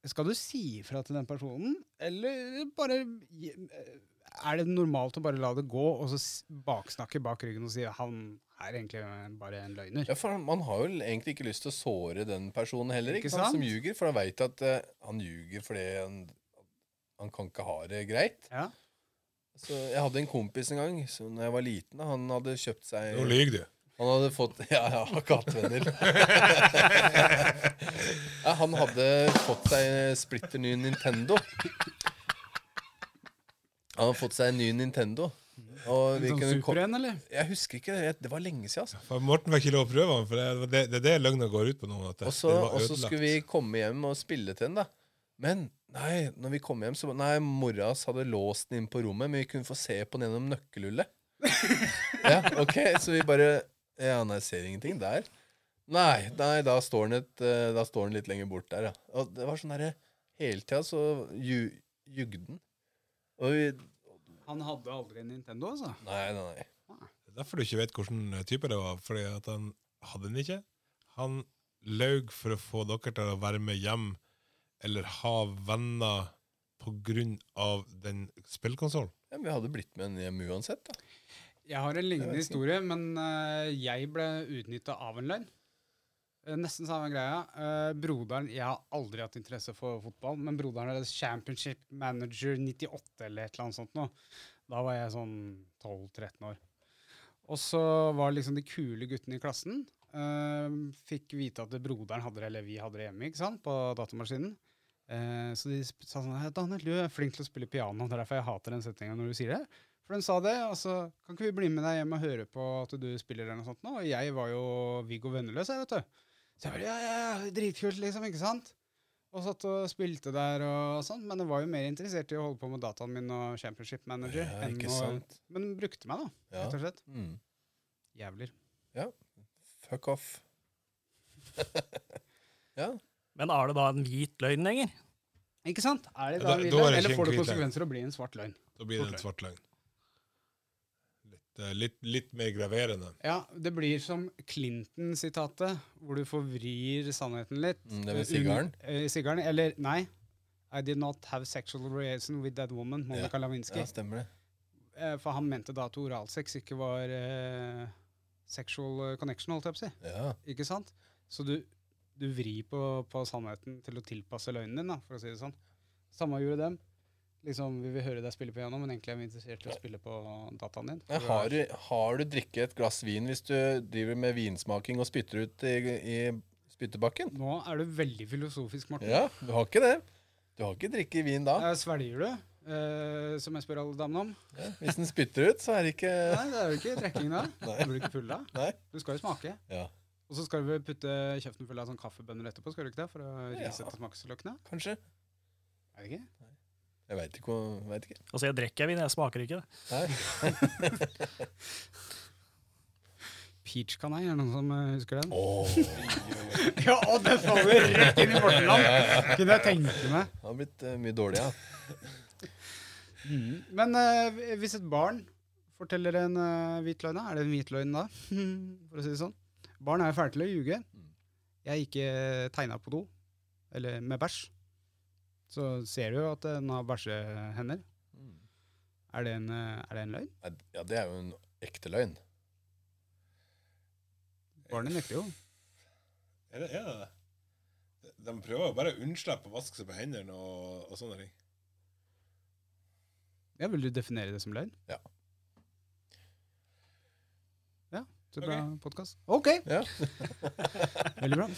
Skal du si ifra til den personen, eller bare gi- eh, Er det normalt å bare la det gå, og så s- baksnakke bak ryggen og si 'han er egentlig bare en løgner'? Ja, for Man har jo egentlig ikke lyst til å såre den personen heller, ikke, Ikke sant? som sant? ljuger. For han veit at eh, han ljuger fordi han, han kan ikke ha det greit. Ja. Så Jeg hadde en kompis en gang så når jeg var liten. da, Han hadde kjøpt seg Nå lyver du. Han hadde fått Ja, jeg har kattvenner. ja, han hadde fått seg en eh, splitter ny Nintendo. Han hadde fått seg en ny Nintendo. Og vi Sånn kunne ko- super en, eller? jeg husker ikke, jeg- det var lenge siden. Altså. For Morten fikk ikke lov å prøve den, for det er det, det, er det løgna går ut på nå. At det, Og så det var og så ødelagt. skulle vi komme hjem og spille til den, da. Men nei, når vi kom hjem, så Nei, mora hans hadde låst den inn på rommet, men vi kunne få se på den gjennom nøkkelhullet. ja, ok, så vi bare Ja, nei, ser ingenting der. Nei, nei, da står den, et, eh, da står den litt lenger bort der, ja. Og det var sånn derre Hele tida så ju- jugde den. Og vi Han hadde aldri en Nintendo, altså. Nei, nei, nei. Det er Derfor du ikke vet hvilken type det var. Fordi at han hadde den ikke. Han laug for å få dere til å være med hjem eller ha venner på grunn av den spillkonsollen. Ja, men vi hadde blitt med den hjem uansett, da. Jeg har en lignende Jeg vet ikke. historie, men eh, jeg ble utnytta av en løgn. Eh, Nesten samme greia. Eh, broderen Jeg har aldri hatt interesse for fotball, men broderen er championship manager 98 eller et eller annet sånt nå. Da var jeg sånn 12-13 år. Og så var liksom de kule guttene i klassen. eh, fikk vite at broderen hadde det, eller vi hadde det hjemme, ikke sant, på datamaskinen. Eh, så de sp- sa sånn «Hei, Daniel, du er flink til å spille piano, det er derfor jeg hater den setninga når du sier det. For den sa det, og så kan ikke vi bli med deg hjem og høre på at du spiller eller noe sånt nå? Og jeg var jo Viggo Venneløs, jeg, vet du. Så jeg bare, ja, ja, dritkult, liksom, ikke sant? Og satt og spilte der og sånn, men jeg var jo mer interessert i å holde på med dataen min og Championship Manager. Ja, enn ikke å- sant. Men den brukte meg, da, Ja. rett og slett. Mm. Jævler. Fuck off. ja, Men er det da en hvit løgn lenger? Ikke sant? Er det Ja, da, da- en hvit da er løgn, det ikke eller en får det hvit løgn. konsekvenser å bli en svart løgn? Da blir det en svart løgn. Litt, eh, litt, litt mer graverende. Ja, det blir som Clinton-sitatet, hvor du forvrir sannheten litt. Mm, det med sigaren? Un- eh, sigaren, eller nei. I did not have sexual relation with that woman, Monica Lewinsky. ja, stemmer det. Eh, For han mente da at oralsex ikke var eh, sexual eh, connection, holdt jeg på å si. Ja. Ikke sant? Så du, du vrir på, på sannheten til å tilpasse løgnen din, da, for å si det sånn. Samme gjorde dem. Liksom, Vi vil høre deg spille piano, men egentlig er vi interessert i å spille på dataen din. Nei, har, du, har du drikket et glass vin hvis du driver med vinsmaking og spytter ut i, i spyttebakken? Nå er du veldig filosofisk, Morten. Ja, du har ikke det. Du har ikke drikket vin da. Eh, Svelger du, eh, som jeg spør alle damene om? Hvis den spytter ut, så er det ikke Nei, det er jo ikke trekking da. Nei. Du blir ikke full da. Nei. Du skal jo smake. Ja. Og så skal du vel putte kjeften full av sånn kaffebønner etterpå, skal du ikke det? For å Ja. risette smaksløkene? Kanskje. Er det ikke? Jeg veit ikke. om- Vet ikke. Altså, jeg drikker jeg vin, jeg smaker ikke det. Nei. Peach kanai, er det noen som eh, husker den? Åh. ja, og det faller rett inn i Portland! Kunne jeg tenke meg. Det har blitt eh, mye dårlig, ja. Men eh, hvis et barn forteller en uh, hvit løgn, da, er det en hvit løgn da? For å si det sånn. Barn er jo fæle til å ljuge. Jeg gikk ikke tegna på do, eller med bæsj. Så ser du jo at den har bæsjehender. Er det en, eh, er det en løgn? Nei, Ja, det er jo en ekte løgn. Barnet nekter jo. Er det, er det det? De prøver jo bare å unnslippe å vaske seg på hendene og, og sånne ting. Ja, Vil du definere det som løgn? Ja. Ja, så Ok. bra podkast. OK! Ja. Veldig bra.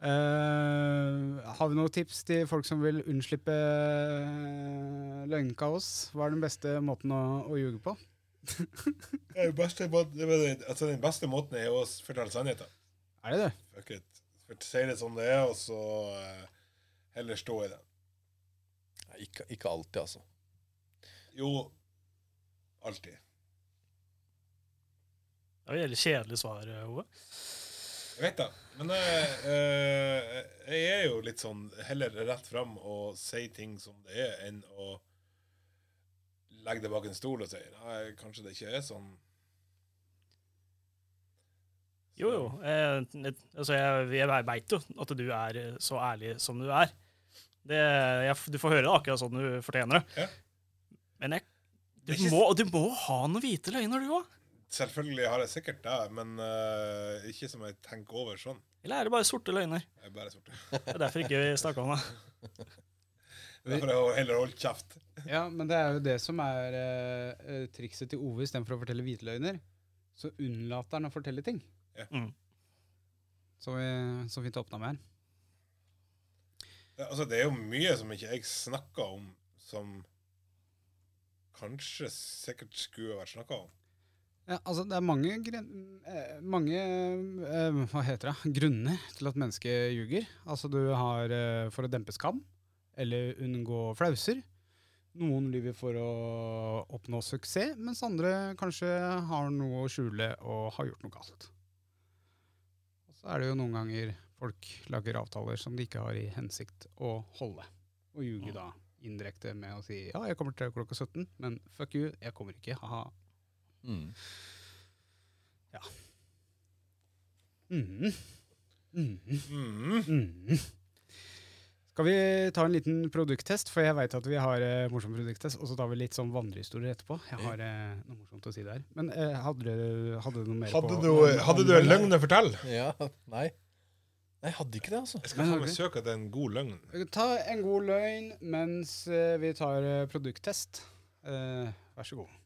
Eh, har vi noen tips til folk som vil unnslippe eh, løgnkaos? Hva er den beste måten å, å ljuge på? Det er jo beste, må- det er jo- altså, den beste måten er jo å fortelle sannheten. Er det det? Fuck it. Fort- Si det som det er, og så eh, heller stå i det. Nei, Ikke, ikke alltid, altså. Jo, alltid. Det er jo veldig kjedelig svar, eh, Ove. Jeg vet det. Men jeg, eh, jeg er jo litt sånn heller rett fram og si ting som det er, enn å legge det bak en stol og si nei, kanskje det ikke er sånn. Jo, jo. Eh, et- altså, jeg jeg veit jo at du er eh, så ærlig som du er. Det, jeg, f- du får høre det akkurat sånn du fortjener det. Ja. Men jeg, du, Det er ikke- må, du må ha noen hvite løgner, du òg. Selvfølgelig har jeg sikkert det, men eh, ikke som jeg tenker over sånn. Eller er det bare sorte løgner? Jeg er bare sorte. Det er derfor ikke vi snakka om det. Derfor har jeg heller holdt kjeft. Ja, men det er jo det som er eh, eh, trikset til Ove istedenfor å fortelle hvitløgner. Så unnlater han å fortelle ting. Ja. Mm. Som vi så fint åpna med her. Ja, altså, det er jo mye som ikke jeg snakker om, som kanskje sikkert skulle vært snakka om. Ja, altså Det er mange, gren- eh, mange eh, hva heter det, grunner til at mennesket ljuger. Altså du har eh, for å dempe skam, eller unngå flauser. Noen lyver for å oppnå suksess, mens andre kanskje har noe å skjule og har gjort noe galt. Og så er det jo noen ganger folk lager avtaler som de ikke har i hensikt å holde. Og ljuger da indirekte med å si 'ja, jeg kommer til klokka 17', men fuck you, jeg kommer ikke, ha-ha. Mm. Mhm. Mhm. Mhm. Mhm. Skal vi ta en liten produkttest, for jeg veit at vi har eh, morsom produkttest. Og så tar vi litt sånn vandrehistorier etterpå. Jeg har eh, noe morsomt å si der. Men eh, hadde, du, hadde du noe mer Hadde, på du, hadde du en løgn å fortelle? Ja, nei. Nei, jeg hadde ikke det, altså. Jeg skal faen meg ok. søke etter en god løgn. Ta en god løgn mens eh, vi tar eh, produkttest. Eh, vær så god.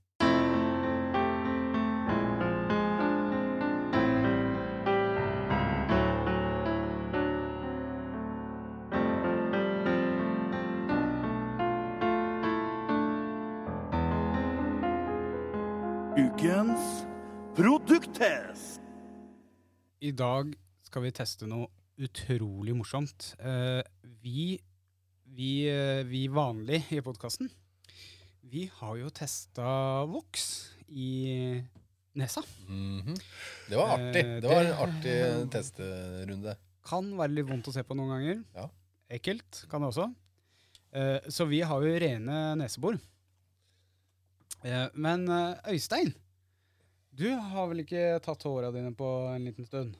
Ukens produkttest. I dag skal vi teste noe utrolig morsomt. Eh, vi, vi, eh, vi vanlige i podkasten, vi har jo testa voks i nesa. Mhm. Det var artig. Eh, Det var det- en artig testerunde. Kan være litt vondt å se på noen ganger. Ja. Ekkelt kan det også. Eh, så vi har jo rene nesebor. Eh, men eh, Øystein, du har vel ikke tatt håra dine på en liten stund?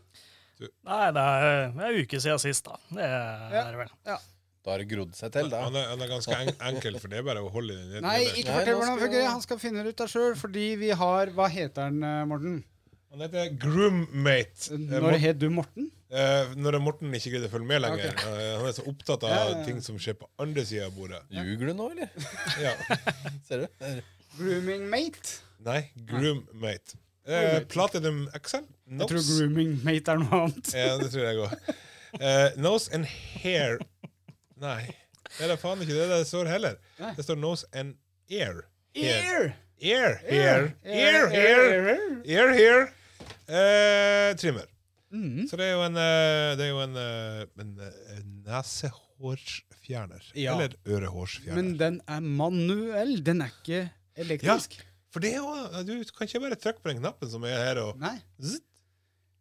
Nei, det er det er en uke siden sist, da. Det er Ja. det vel. Da har det grodd seg til, da. Han er, han er ganske en, enkel, for det er bare å holde den ned- Nei, nederst. ikke Nei, fortell nå hvordan skal det fungerer. jeg- Han skal finne det ut av sjøl, fordi vi har Hva heter han, eh, Morten? Han heter Groommate. Eh, Når het du Morten? Eh, når Morten ikke gidder å følge med lenger. Ok. Eh, han er så opptatt av Ja, ja, ja. ting som skjer på andre sida av bordet. Ljuger du nå, eller? Ja. Ser du? Der. Grooming mate? Nei, groommate. Eh, Platinum Excel. Jeg tror Nose. grooming mate er noe annet. Ja, det tror jeg òg. Eh, nose and hair Nei, det er da faen ikke det det står heller. Nei. Det står nose and air. Ear! Ear, hair. Ear, Ear, hair. ear. Ear, hair. Eh, trimmer. Mhm. Så det er jo en, eh, det er jo en, eh, en, eh, nesehårsfjerner. Ja. Eller ørehårsfjerner. Men den er manuell, den er ikke elektrisk. For det er jo, eh, du kan ikke bare trykke på den knappen som er her og Nei. Zzz.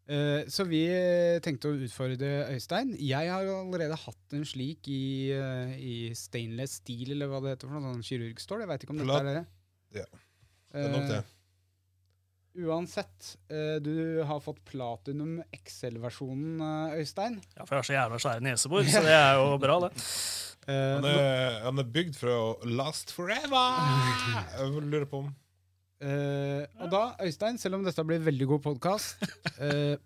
Eh, Så vi eh, tenkte å utfordre Øystein. Jeg har jo allerede hatt en slik i, eh, i stainless steel, eller hva det heter for noe sånn kirurgstål. Jeg veit ikke om dette Plat- er det. Ja. Det er nok Eh, det. uansett, eh, du har fått platinum XL-versjonen, eh, Øystein. Ja, for jeg har så jævla svære nesebor, så det er jo bra, det. Eh, Han er, han er bygd for å last forever! Jeg lurer på om Eh, og da, Øystein, selv om dette blir veldig god podkast,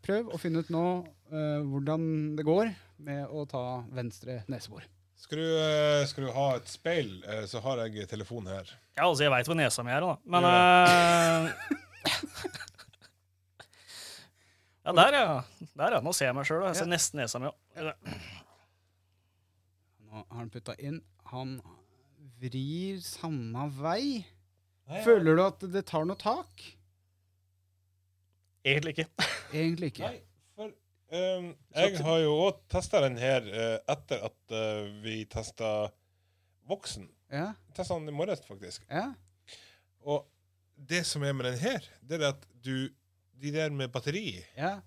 prøv å finne ut nå eh, hvordan det går med å ta venstre nesebor. Skal du, eh, skal du ha et speil, eh, så har jeg telefon her. Ja, altså, jeg veit hvor nesa mi er, da. Men eh, Ja, der, ja. Der, ja. Nå ser jeg meg sjøl, og jeg ser nesten nesa mi òg. Nå har han putta inn. Han vrir samme vei. Føler du at det tar noe tak? Egentlig ikke. Egentlig ikke. Nei, for ehm, jeg har jo òg testa den her eh, etter at eh, vi testa voksen. Ja, Testa den i morges, faktisk. ja. Og det som er med den her, det er at du De der med batteri, ja.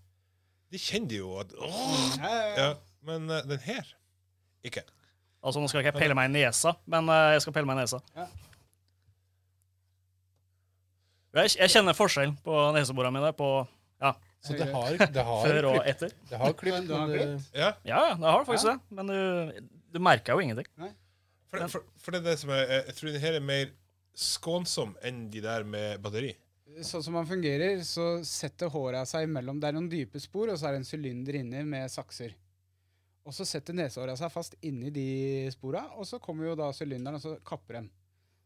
de kjenner jo at åh, ja, ja. ja, Men eh, den her ikke. Altså, nå skal ikke jeg pelle meg i nesa, men eh, jeg skal pelle meg i nesa. Ja. Jeg, jeg kjenner forskjell på neseborene mine på ja, Så det har, det har før og klipp. etter. Det har klipp, Men det har men det- Ja, Ja, ja, det har faktisk det. Men du, du merker jo ingenting. for, for, for det er det som er eh, Jeg tror den her er mer skånsom enn de der med batteri. Sånn som han fungerer, så setter håra seg imellom. Det er noen dype spor, og så er det en sylinder inni med sakser. Og så setter nesehåra seg fast inni de spora, og så kommer jo da sylinderen, og så kapper den.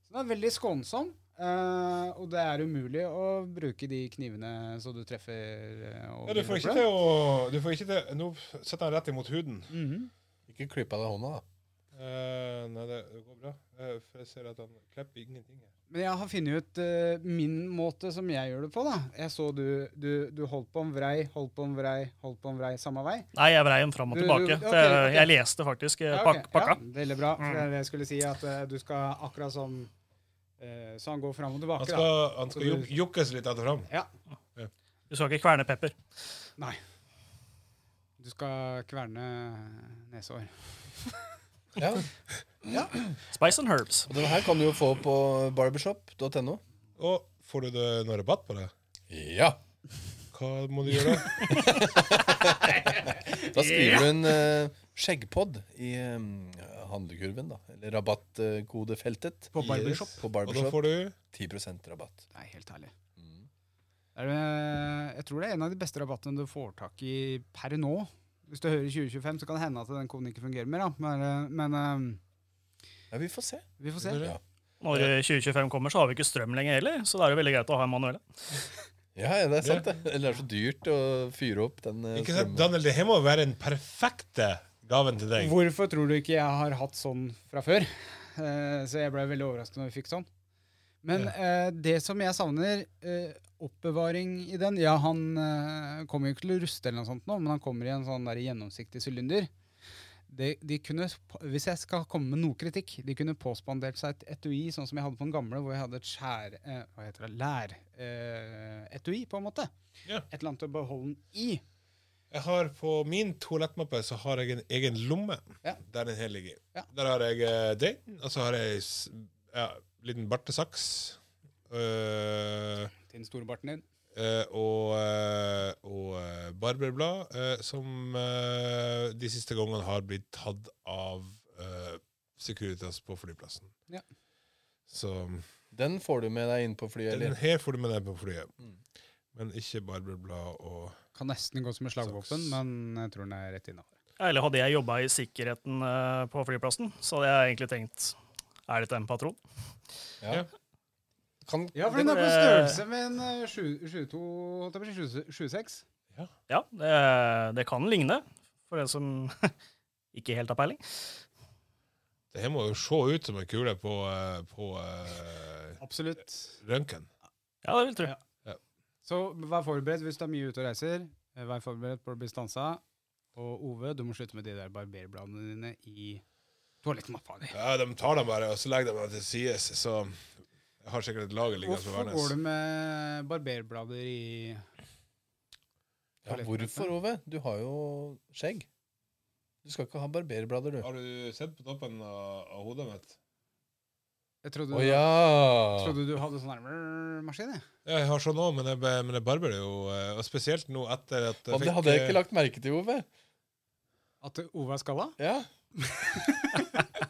Så den er veldig skånsom, eh, og det er umulig å bruke de knivene så du treffer. eh, og Ja, du blir får ikke borte. til å du får ikke til, Nå setter han rett imot huden. Mhm. Ikke klipp av deg hånda, da. Eh, nei, det det går bra. Eh, for jeg ser at han klipper ingenting her. Men jeg har funnet ut eh, min måte som jeg gjør det på. da. Jeg så du, du, du holdt på en vrei, holdt på en vrei, holdt på en vrei samme vei. Nei, jeg vrei dem fram og Du- du- tilbake. ok, for jeg, ok. jeg leste faktisk eh, Ja, ok. pak pakka. Ja, veldig bra. For det er det jeg skulle si, at eh, du skal akkurat som eh, Så han går fram og tilbake, Han skal, han Så skal du- juk jukkes litt etter fram. da. Ja. Du skal ikke kverne pepper. Nei. Du skal kverne nesehår. Ja. Spice and herbs. Og den her kan du jo få på barbershop.no. Og får du det, noe rabatt på det? Ja! Hva må du gjøre? da? Da skriver du en eh, skjeggpodd i eh, handlekurven, da. Eller rabattkodefeltet. På barbershop. På Og da barbershop. får du 10 rabatt. Det er helt herlig. Det er, eh, jeg tror det er en av de beste rabattene du får tak i per nå. Hvis du hører 2025, så kan det hende at den koden ikke fungerer mer. Da. Men, eh, men Ja, vi får se. eh, vi får se. Ja. Når eh, 2025 kommer, så har vi ikke strøm lenger heller, så da er det veldig greit å ha en manuell. Ja, ja, det er sant, det. Eller det er så dyrt å fyre opp den eh, Ikke sant, strømmen. Daniel, det her må være den perfekte gaven til deg. Hvorfor tror du ikke jeg har hatt sånn fra før? Eh, så jeg ble veldig overrasket når vi fikk sånn. Men eh, det som jeg savner, eh, oppbevaring i den Ja, han eh, kommer jo ikke til å ruste eller noe sånt nå, men han kommer i en sånn der gjennomsiktig sylinder. De, de kunne, sp- hvis jeg skal komme med noe kritikk, de kunne påspandert seg et etui, sånn som jeg hadde på den gamle, hvor jeg hadde et skjær... Eh, hva heter det? Lær... Eh, etui, på en måte. Ja. Et eller annet å beholde den i. Jeg har På min toalettmappe så har jeg en egen lomme Ja. der den her ligger. Ja. Der har jeg eh, den, og så har jeg s- ja, liten bartesaks. Øh, Til den store barten din. Eh, og eh, og eh, barberblad, eh, som eh, de siste gangene har blitt tatt av eh, Securitas på flyplassen. Ja. Så Den får du med deg inn på flyet, den eller? her får du med deg på flyet. Mm. Men ikke barberblad og Kan nesten gå som en slagvåpen, Saks. men jeg tror den er rett innafor. Eller hadde jeg jobba i sikkerheten eh, på flyplassen, så hadde jeg egentlig tenkt er dette en patron? Ja. Kan, Ja, for Det den er på går, eh, størrelse med en eh, sju- 22 holdt jeg på å si, 20 26. Ja, det, det kan ligne, for den som ikke helt har peiling. Det her må jo se ut som en kule på, eh, på eh, Absolutt. røntgen. Ja, det vil jeg tro. Ja. Så vær forberedt hvis du er mye ute og reiser. Eh, Vær forberedt på å bli stansa. Og Ove, du må slutte med de der barberbladene dine i toalettmappa di. Ja, de tar dem bare, og så legger de dem til sides. Så jeg har sikkert et lager liggende på Hvorfor går Værnes. du med barberblader i ja, hvorfor, Ove? Du har jo skjegg. Du skal ikke ha barberblader, du. Har du sett på toppen av, av hodet mitt? Jeg trodde, Å ja! trodde du hadde sånn her maskin, jeg. Ja, Jeg har sånn òg, men jeg, be- men jeg barber det jo. eh, Og spesielt nå etter at eh, Og det hadde jeg ikke lagt merke til, Ove. At Ove er skalla? Ja. lagt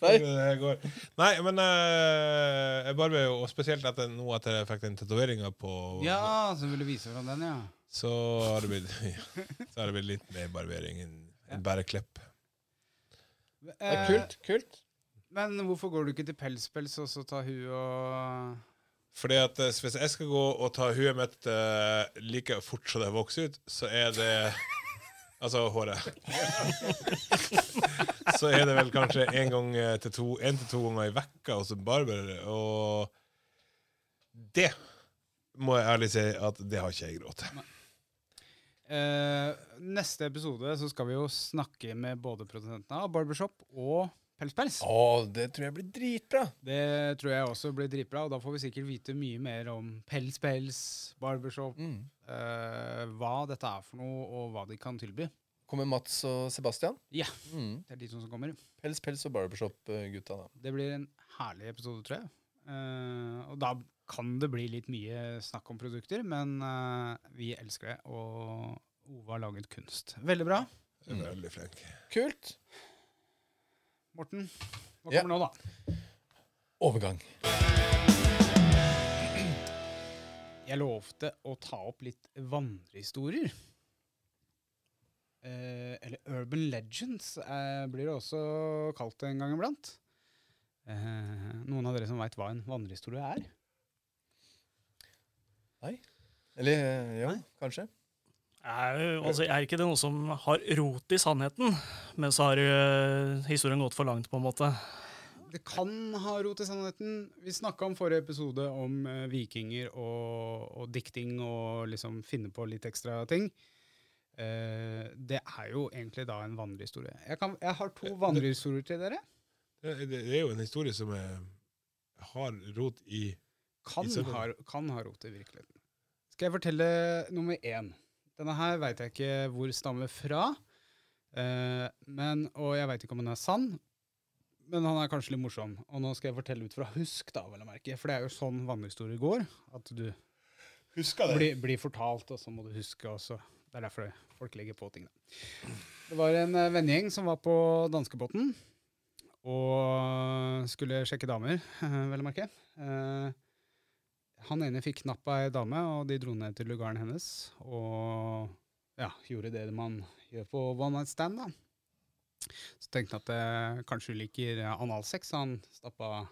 Nei. Nei, men eh, jeg barber jo, og spesielt etter, nå etter jeg fikk den tatoveringa på Ja, så vil du vise fram den, ja. Så har det blitt ja, Så har det blitt litt mer barbering enn enn bare klipp. Det er kult. Kult. Men hvorfor går du ikke til pelspels og så tar hun og Fordi at eh, Hvis jeg skal gå og ta huet mitt eh, like fort som det vokser ut, så er det Altså håret. så er det vel kanskje en gang eh, til to En til to ganger i vekka hos en barber, og det må jeg ærlig si at det har ikke jeg råd til. Eh, Neste episode så skal vi jo snakke med både produsentene av Barbershop og Pelspels. Å, det tror jeg blir dritbra. Det tror jeg også blir dritbra, og da får vi sikkert vite mye mer om Pelspels, Barbershop, Mm. eh, hva dette er for noe, og hva de kan tilby. Kommer Mats og Sebastian? Ja. Mm. Det er de to som kommer. Pels, pels og barbershop-gutta, da. Det blir en herlig episode, tror jeg. Eh, og da kan det bli litt mye snakk om produkter, men eh, vi elsker det, og Ove har laget kunst. Veldig bra. Jeg er veldig flink. Kult. Morten, hva Ja. kommer nå, da? Overgang. Jeg lovte å ta opp litt vandrehistorier. Eh, eller Urban Legends eh, blir det også kalt en gang iblant. Eh, noen av dere som veit hva en vandrehistorie er? Eller eh, ja, kanskje. Er, jo- altså, er ikke det noe som har rot i sannheten, men så har øh, historien gått for langt, på en måte? Det kan ha rot i sannheten. Vi snakka om forrige episode om eh, vikinger og, og dikting og liksom finne på litt ekstra ting. Eh, det er jo egentlig da en vandrehistorie. Jeg, kan, jeg har to vandrehistorier til dere. Det, det det er jo en historie som er, har rot i Kan Ikke sant? ha, kan ha rot i virkeligheten. Skal jeg fortelle nummer én. Denne her veit jeg ikke hvor stammer fra, eh, men, og jeg veit ikke om den er sann. Men han er kanskje litt morsom, og nå skal jeg fortelle ut fra husk, da, vel å merke. For det er jo sånn vandrehistorier går, at du Husker blir, blir fortalt, og så må du huske også. Det er derfor folk legger på ting. Da. Det var en eh, vennegjeng som var på danskebåten og skulle sjekke damer, vel å merke. Eh, han ene fikk napp av ei dame, og de dro ned til lugaren hennes og ja, gjorde det man gjør på one night stand. da. Så tenkte han at eh, kanskje hun liker eh, analsex, så han stappa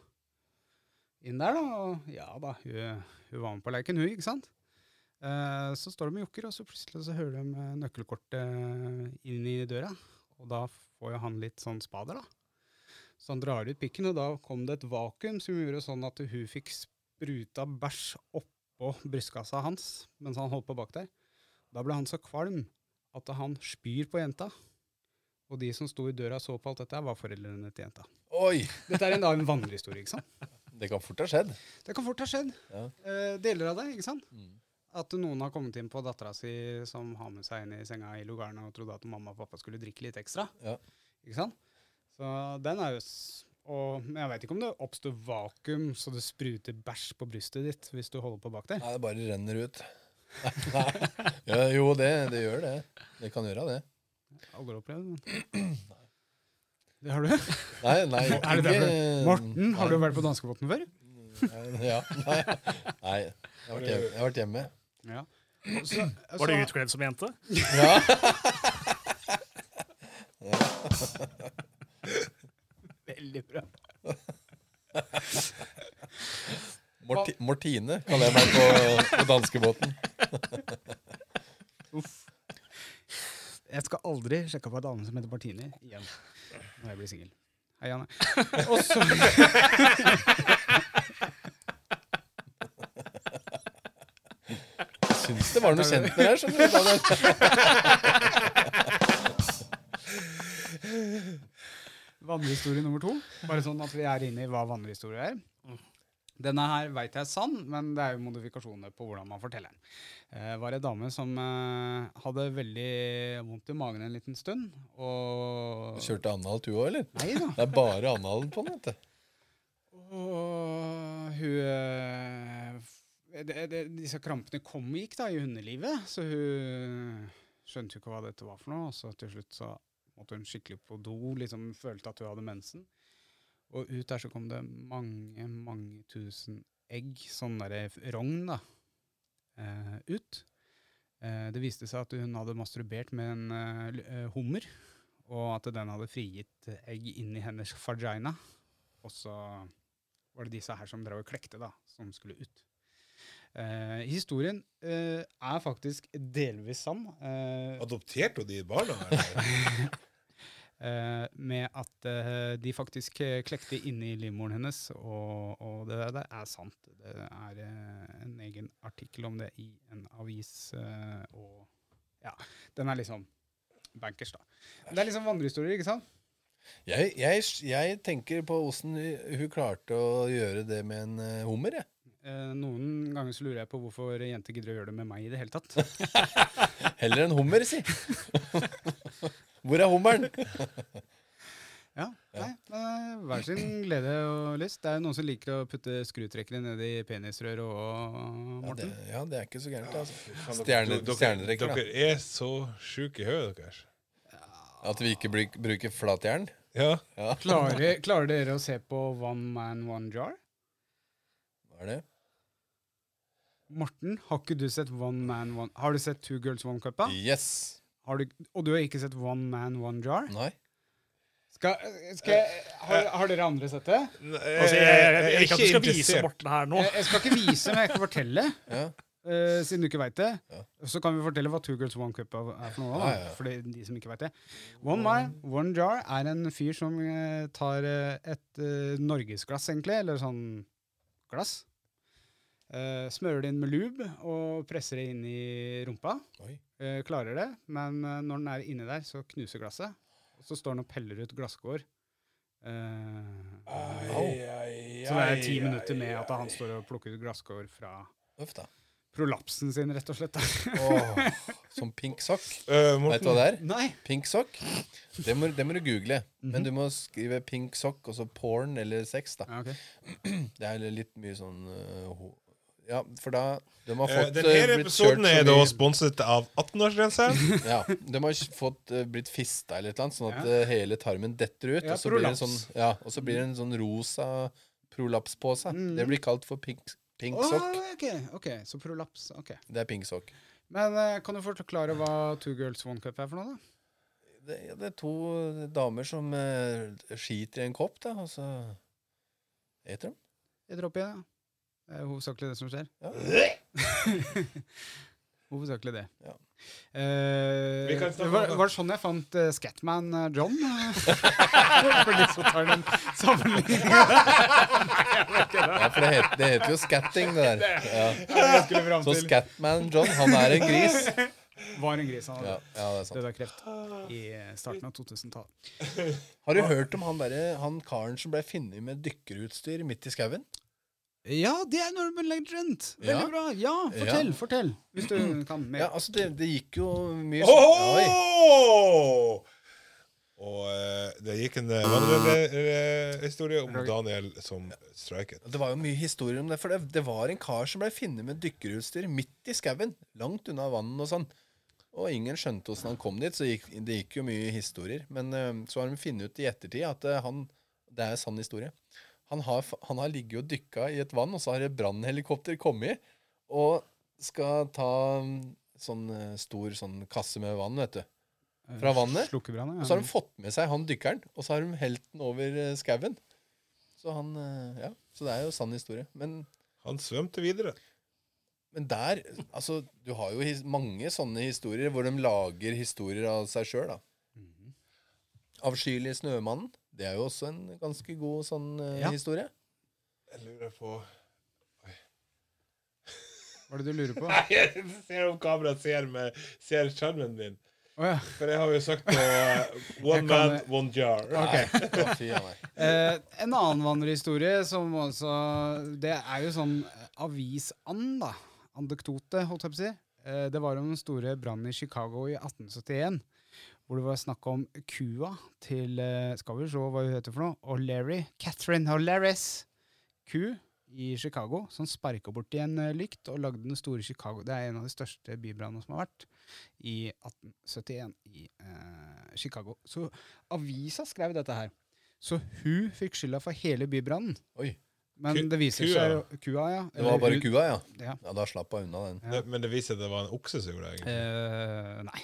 inn der, da. Og ja da, hun, hun var med på leken, hun, ikke sant? Eh, så står de og jokker, og så plutselig så hører de eh, nøkkelkortet eh, inn i døra. Og da får jo han litt sånn spader, da. Så han drar ut pikken, og da kom det et vakuum som gjorde sånn at hun fikk spruta bæsj oppå brystkassa hans mens han holdt på bak der. Da ble han så kvalm at han spyr på jenta. Og de som sto i døra og så på alt dette, her, var foreldrene til jenta. Oi! Dette er en, da en vandrehistorie, ikke sant? Det kan fort ha skjedd. Det kan fort ha skjedd. Ja. Eh, deler av det, ikke sant? Mm. At noen har kommet inn på dattera si som har med seg inn i senga i lugaren og trodde at mamma og pappa skulle drikke litt ekstra. Ja. Ikke sant? Så den er jo s- og, Men jeg veit ikke om det oppstår vakuum så det spruter bæsj på brystet ditt hvis du holder på bak der. Nei, det bare renner ut. Nei. Ja, jo, det, det gjør det. Det kan gjøre det. Aldri opplevd det. Det har du? Nei, nei. Er det ikke- derfor? Morten, har du Um, Nei. vært på danskebåten før? Ja. Nei. nei. Jeg har vært hjemme. Jeg har vært hjemme. Ja. Så, Var du så- utkledd som jente? Veldig bra. Morti, Mortine kaller jeg meg på, på danskebåten. Jeg skal aldri sjekke opp ei dame som heter Martine igjen når jeg blir singel. Hei, Janne. Og så Syns det var noe kjent med det her. skjønner du. Da det- Vandrehistorie nummer to. Bare sånn at vi er inne i hva vandrehistorie er. Denne her veit jeg er sann, men det er jo modifikasjoner på hvordan man forteller den. Eh, var ei dame som eh, hadde veldig vondt i magen en liten stund, og Kjørte analt du òg, eller? Nei da. Det er bare analen på den, vet du. Og hun eh, f- det, det, Disse krampene kom og gikk da i hundelivet, så hun skjønte jo ikke hva dette var for noe. Og så til slutt så måtte hun skikkelig på do, liksom følte at hun hadde mensen. Og ut der så kom det mange, mange tusen egg, sånn derre f- rogn, da, eh, ut. Eh, det viste seg at hun hadde masturbert med en eh, l- eh, hummer, og at den hadde frigitt egg inn i hennes vagina. Og så var det disse her som drev og klekte, da, som skulle ut. Eh, historien eh, er faktisk delvis sann, eh, Adopterte hun de barna? eller? eh, med at eh, de faktisk eh, klekte inni livmoren hennes, og, og det der er sant. Det er eh, en egen artikkel om det i en avis, eh, og ja, den er liksom bankers, da. Men Det er liksom vandrehistorier, ikke sant? Jeg, jeg, jeg tenker på åssen hun klarte å gjøre det med en eh, hummer, jeg. Eh, noen ganger så lurer jeg på hvorfor jenter gidder å gjøre det med meg i det hele tatt. Heller en hummer, si. Hvor er hummeren? Ja, nei, men eh, hver sin glede og lyst. Det er jo noen som liker å putte skrutrekkere ned i penisrør og Ja, det, Morten. ja, det er ikke så gærent. Altså. Dere- Stjerne, stjernerekker, da. Dere er så sjuke i hodet deres. At vi ikke blir, bruker flatjern. Ja. Ja, Klarer, klarer dere å se på One Man One Jar? hva er det? Morten, har ikke du sett One Man One Har du sett Two Girls One Cup? da? Yes. Har du, og du har ikke sett One Man One Jar? Nei. Skal, skal jeg, har, har dere andre sett det? Altså, jeg, jeg, jeg, vil ikke at du skal vise Morten her nå. Jeg, jeg skal ikke vise, men jeg kan fortelle. Ja. Eh, eh, siden du ikke veit det, Ja. så kan vi fortelle hva Two Girls One Cup er er for noe. Da, Ja, ja, ja. For det- de som ikke vet det. One Mile, One Jar er en fyr som eh, tar eh, et eh, norgesglass, egentlig, eller sånn glass. Eh, smører det inn med lube og presser det inn i rumpa. Oi. Eh, klarer det, men eh, når den er inni der, så knuser glasset. Og så står den og peller ut glasskår. Eh, så det er ti minutter med at han står og plukker ut glasskår fra Uff da. prolapsen sin, rett og slett. da. Åh, som pink sokk. Eh, Vet du hva Morten, det er? Nei! Pink sokk? Det må, det må du google. Men du må skrive pink sokk, og så porn eller sex, da. Mhm. Ja, ok. Det er litt mye sånn øh, ho- Ja, for da De har eh, fått øh, denne blitt episoden kjørt så er da mye- sponset av 18-årsgrense. Ja, de har s- fått eh, blitt fista eller et eller annet, sånn at eh, hele tarmen detter ut. Ja, og, så blir det en sånn, prolaps. ja, og så blir det en sånn rosa prolaps på seg. Det blir kalt for pink, pink sokk. Mhm. Åh, ok, ok, så prolaps. ok. Det er pink sokk. Men eh, kan du forklare hva Two Girls One Cup er for noe, da? Det, ja, det er to damer som eh, skiter i en kopp, da, og så eter de. Jeg dropper igjen, ja. Det er hovedsakelig det som skjer. Hovedsakelig det. Ja. Eh, Vi kan det snakke var, om det. var det sånn jeg fant eh, Scatman eh, John? Fordi så tar den sammenligningen. Ja, for det heter, det heter jo skatting, det der. Ja. Jeg skulle fram Så til Scatman John, han er en gris. var en gris han Ja, hadde ja, det er sant. død av kreft Ah. i starten av 2000-tallet. Har du hørt om han, derre- han karen som ble funnet med dykkerutstyr midt i skauen? Ja, det er en urban legend! Veldig Ja. bra! Ja, fortell, Ja. fortell! Hvis du kan mer. Ja, altså, det, det gikk jo mye Oi. Åh! Og eh, det gikk en eh, manuell eh, historie om Daniel som streiket. Det var jo mye historier om det, for det, det var en kar som ble funnet med dykkerutstyr midt i skauen, langt unna vannet og sånn. Og ingen skjønte åssen han kom dit, så gikk, det gikk jo mye historier. Men eh, så har de funnet ut i ettertid at eh, han Det er en sann historie. Han har, f- han har ligget og dykka i et vann, og så har et brannhelikopter kommet og skal ta mm, sånn eh, stor sånn kasse med vann, vet du. Eh, Fra vannet. Slukkebrann, Og så har de fått med seg han dykkeren, og så har de helt den over eh, skauen. Så han eh, Ja, så det er jo sann historie. Men, Han svømte videre. men der Altså, du har jo his mange sånne historier hvor de lager historier av seg sjøl, da. Mhm. Avskyelig snømannen. Det er jo også en ganske god sånn eh, Ja. historie. Jeg lurer på Hva er det du lurer på? Nei, jeg ser om kameraet ser med- ser skjermen min. Å ja. For jeg har jo sagt på eh, One Jeg kan, man, eh, one jar. Nei, å, fy a meg. Eh, en annen vandrehistorie som også Det er jo sånn avisand, da. Andektote, holdt jeg på å si. Eh, det var om den store brannen i Chicago i 1871. Hvor det var snakk om kua til eh, Skal vi se hva hun heter for noe? O'Leary. Catherine O'Learys ku i Chicago som sparka borti en eh, lykt og lagde den store Chicago. Det er en av de største bybrannene som har vært i 1871 i eh, Chicago. Så avisa skrev dette her. Så hun fikk skylda for hele bybrannen. Oi. Men Ku- det viser kua, seg ja. jo Kua, ja. Det var bare Eller hun- kua, ja. Ja. Ja, Da slapp hun unna den. Det- Men det viser seg at det var en okse som gjorde det. egentlig. Eh, nei.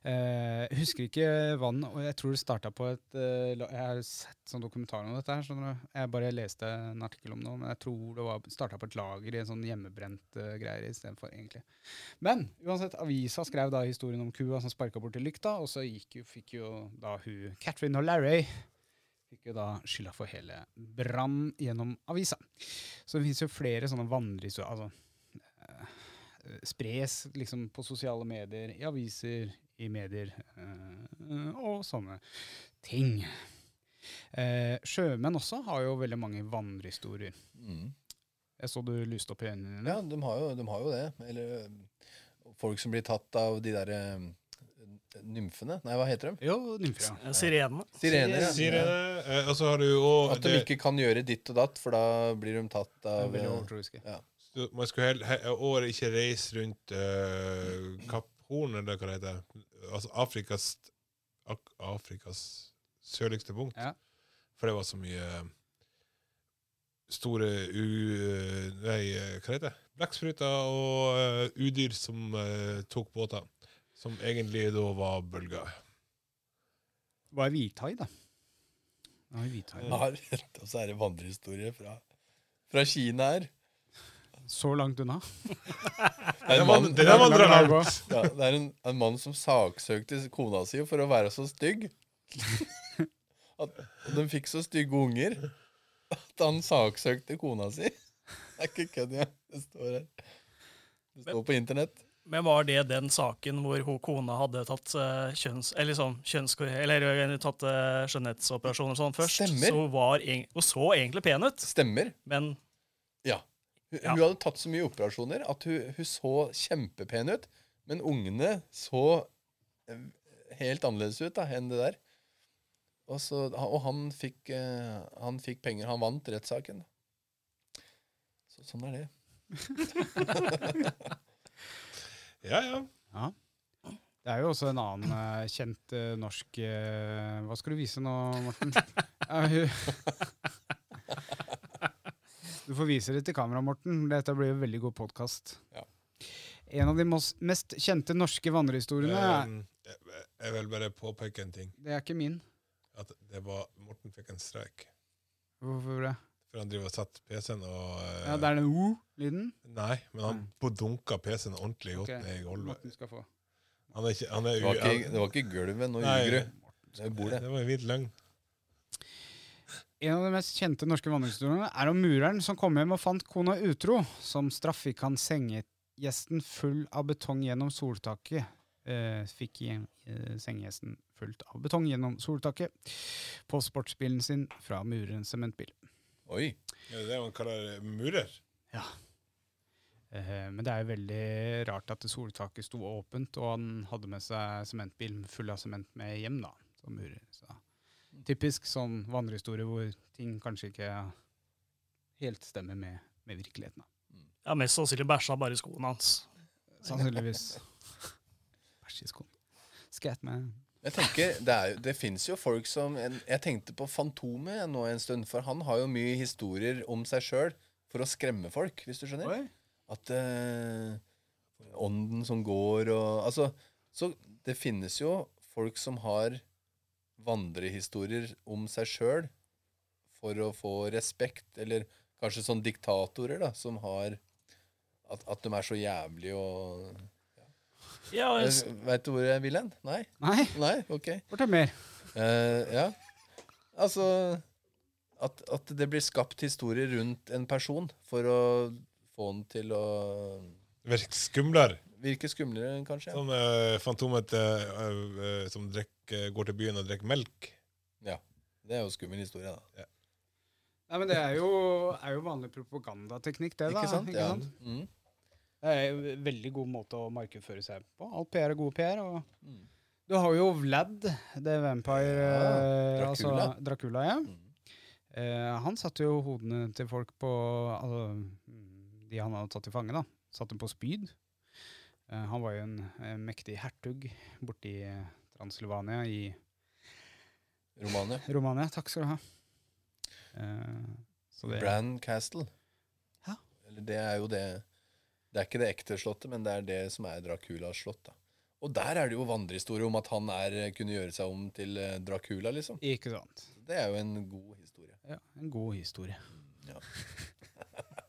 Eh, jeg husker ikke vann, og jeg tror det starta på et eh, la- Jeg har sett sånn dokumentar om dette. her, skjønner du. Jeg bare leste en artikkel om det, men jeg tror det starta på et lager i en sånn hjemmebrent uh, greier istedenfor, egentlig. Men uansett, avisa skrev da historien om kua som sparka borti lykta, og så gikk jo, fikk jo da hun Catherine O'Larry fikk jo da skylda for hele brannen gjennom avisa. Så det fins jo flere sånne vandrehistorier. altså eh, spres liksom på sosiale medier, i aviser, i medier eh, og sånne ting. Eh, sjømenn også har jo veldig mange vandrehistorier. Mm. Jeg så du lyste opp i øynene dine. Ja, de har jo, de har jo det. Eller ø, folk som blir tatt av de derre nymfene Nei, hva heter de? Jo, nymfer, ja. Eh, Sirenene. Sirener. ja. Sier jeg det? Eh, Og så har du jo også At de det- ikke kan gjøre ditt og datt, for da blir de tatt Det av eh, er Veldig ø, overtroiske. Du- Man skulle hel- he- året ikke reise rundt eh, Kapp Horn, eller hva det heter. Altså Afrikas Ak- Afrikas sørligste punkt. Ja. For det var så mye eh, store u... Nei, eh, hva heter det? Blekkspruter og eh, udyr som eh, tok båter. Som egentlig da var bølger. Hva er hvithai, da? Hva er hvithai? Ja, Og så er det vandrehistorie fra, fra Kina her. Så langt unna. Det er en mann, Det der var La meg langt. gå. ja, det er en, en mann som saksøkte kona si for å være så stygg. At og de fikk så stygge unger at han saksøkte kona si. Det er ikke kødd engang. Det står her. Det står på internett. Men var det den saken hvor hun kona hadde tatt eh, kjønns... Eller sånn, kjønnskor... Eller eh, tatt eh, skjønnhetsoperasjon og sånn først. Stemmer. Så hun, var eng- hun så egentlig pen ut, Stemmer. men Ja. Hun, Ja. hun hadde tatt så mye operasjoner at hun, hun så kjempepen ut. Men ungene så eh, helt annerledes ut da, enn det der. Og, så, og han, fikk, eh, han fikk penger. Han vant rettssaken. Så, sånn er det. Ja, ja. Det er jo også en annen eh, kjent eh, norsk eh, Hva skal du vise nå, Morten? Ja, hun- du får vise det til kamera, Morten. Dette blir jo veldig god podkast. Ja. En av de mos- mest kjente norske vandrehistoriene er- Um, jeg- Jeg vil bare påpeke en ting. Det er ikke min. At det var Morten fikk en streik. Hvorfor det? For han driver og setter PC-en og eh, Ja, det er den O-lyden. Nei, men han dunka PC-en ordentlig godt Ok. ned i gulvet. Morten skal få. Han er ikke han er Det var u- ikke, det var ikke gulvet, nå Nei. ljuger du. Det er bordet. Det var en hvit løgn. En av de mest kjente norske vandrehistoriene er om mureren som kom hjem og fant kona utro. Som straff fikk han sengegjesten full av betong gjennom soltaket. Eh, fikk igjen- eh, sengegjesten fullt av betong gjennom soltaket på sportsbilen sin fra murerens sementbil. Oi. Ja, det er det han kaller murer. Eh, men det er jo veldig rart at det soltaket sto åpent, og han hadde med seg sementbil full av sement med hjem, da, som murer. Så. Typisk sånn vandrehistorie hvor ting kanskje ikke helt stemmer med, med virkeligheten. da. ja, mest sannsynlig bæsja bare i skoene hans. Sannsynligvis. Bæsj i skoen. Skat man. Jeg tenker, Det, er, jo- det fins jo folk som en, Jeg tenkte på Fantomet jeg nå en stund, for han har jo mye historier om seg sjøl for å skremme folk, hvis du skjønner. At eh, ånden som går og Altså, så det finnes jo folk som har vandrehistorier om seg sjøl for å få respekt, eller kanskje sånn diktatorer, da, som har At, at de er så jævlige og Ja, jeg s- Veit du hvor jeg vil hen? Nei? Nei, Nei? Ok. fortell mer. Eh, ja. Altså at, at det blir skapt historier rundt en person for å få den til å Virker skumlere. virke skumlere, kanskje. Ja. Som eh, Fantomet eh, eh, som drikker- går til byen og drikker melk. Det er jo skummel historie, da. Nei, men Det er jo, er jo vanlig propagandateknikk, det. da. Ikke sant? Ikke sant? Ja. Mm. Det er jo en veldig god måte å markedsføre seg på. Alt PR er god PR. og... Mm. Du har jo Vlad, det vampire eh, altså, Dracula. Dracula ja. Mm. Eh, han satte jo hodene til folk på altså, mm, De han hadde tatt til fange, da. Satte dem på spyd. Eh, han var jo en eh, mektig hertug borti eh, Transylvania i Romania. Romania. Takk skal du ha. Eh, så det, Bran Castle. Ja. Eller det er jo det Det er ikke det ekte slottet, men det er det som er Draculas slott. da. Og der er det jo vandrehistorie om at han er, kunne gjøre seg om til eh, Dracula, liksom. ikke sant. Det er jo en god historie. Ja, en god historie. Mm, Ja.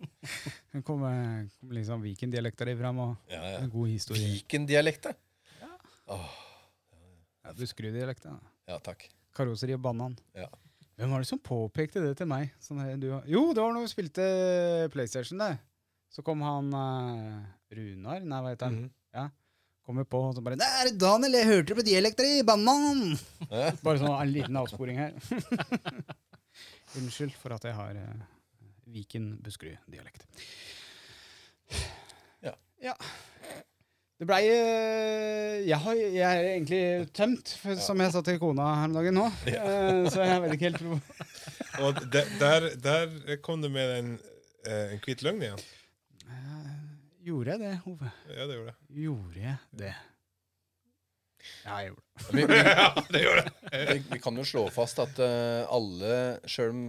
Det kommer kom litt sånn Viken-dialekter i fram, og Ja, ja. en god historie. Viken-dialekta. Åh, Ja, Buskerud-dialekter. da. ja, takk. Karosseri og banan. Ja. Hvem var det som påpekte det til meg? Sånn, her, du, har- jo, det var når vi spilte PlayStation, det. Så kom han eh, Runar, nei, hva heter han? Mhm. Ja. Kommer på, og så bare 'Det er Daniel, jeg hørte det på dialekter i banan!' Ja. Bare sånn en liten avsporing her. Unnskyld for at jeg har eh, Viken Buskerud-dialekt. Ja. ja. Det blei eh, jeg, har- jeg er egentlig tømt, for, som jeg sa til kona her om dagen nå. Eh, så jeg vet ikke helt hvor Og de, der, der kom du med en, eh, en hvit løgn igjen. Gjorde jeg det, Hove? Ja, det gjorde jeg. Gjorde jeg det? Ja, jeg gjorde det. Vi, vi, Ja, det gjorde jeg. vi, vi kan jo slå fast at eh, alle, sjøl om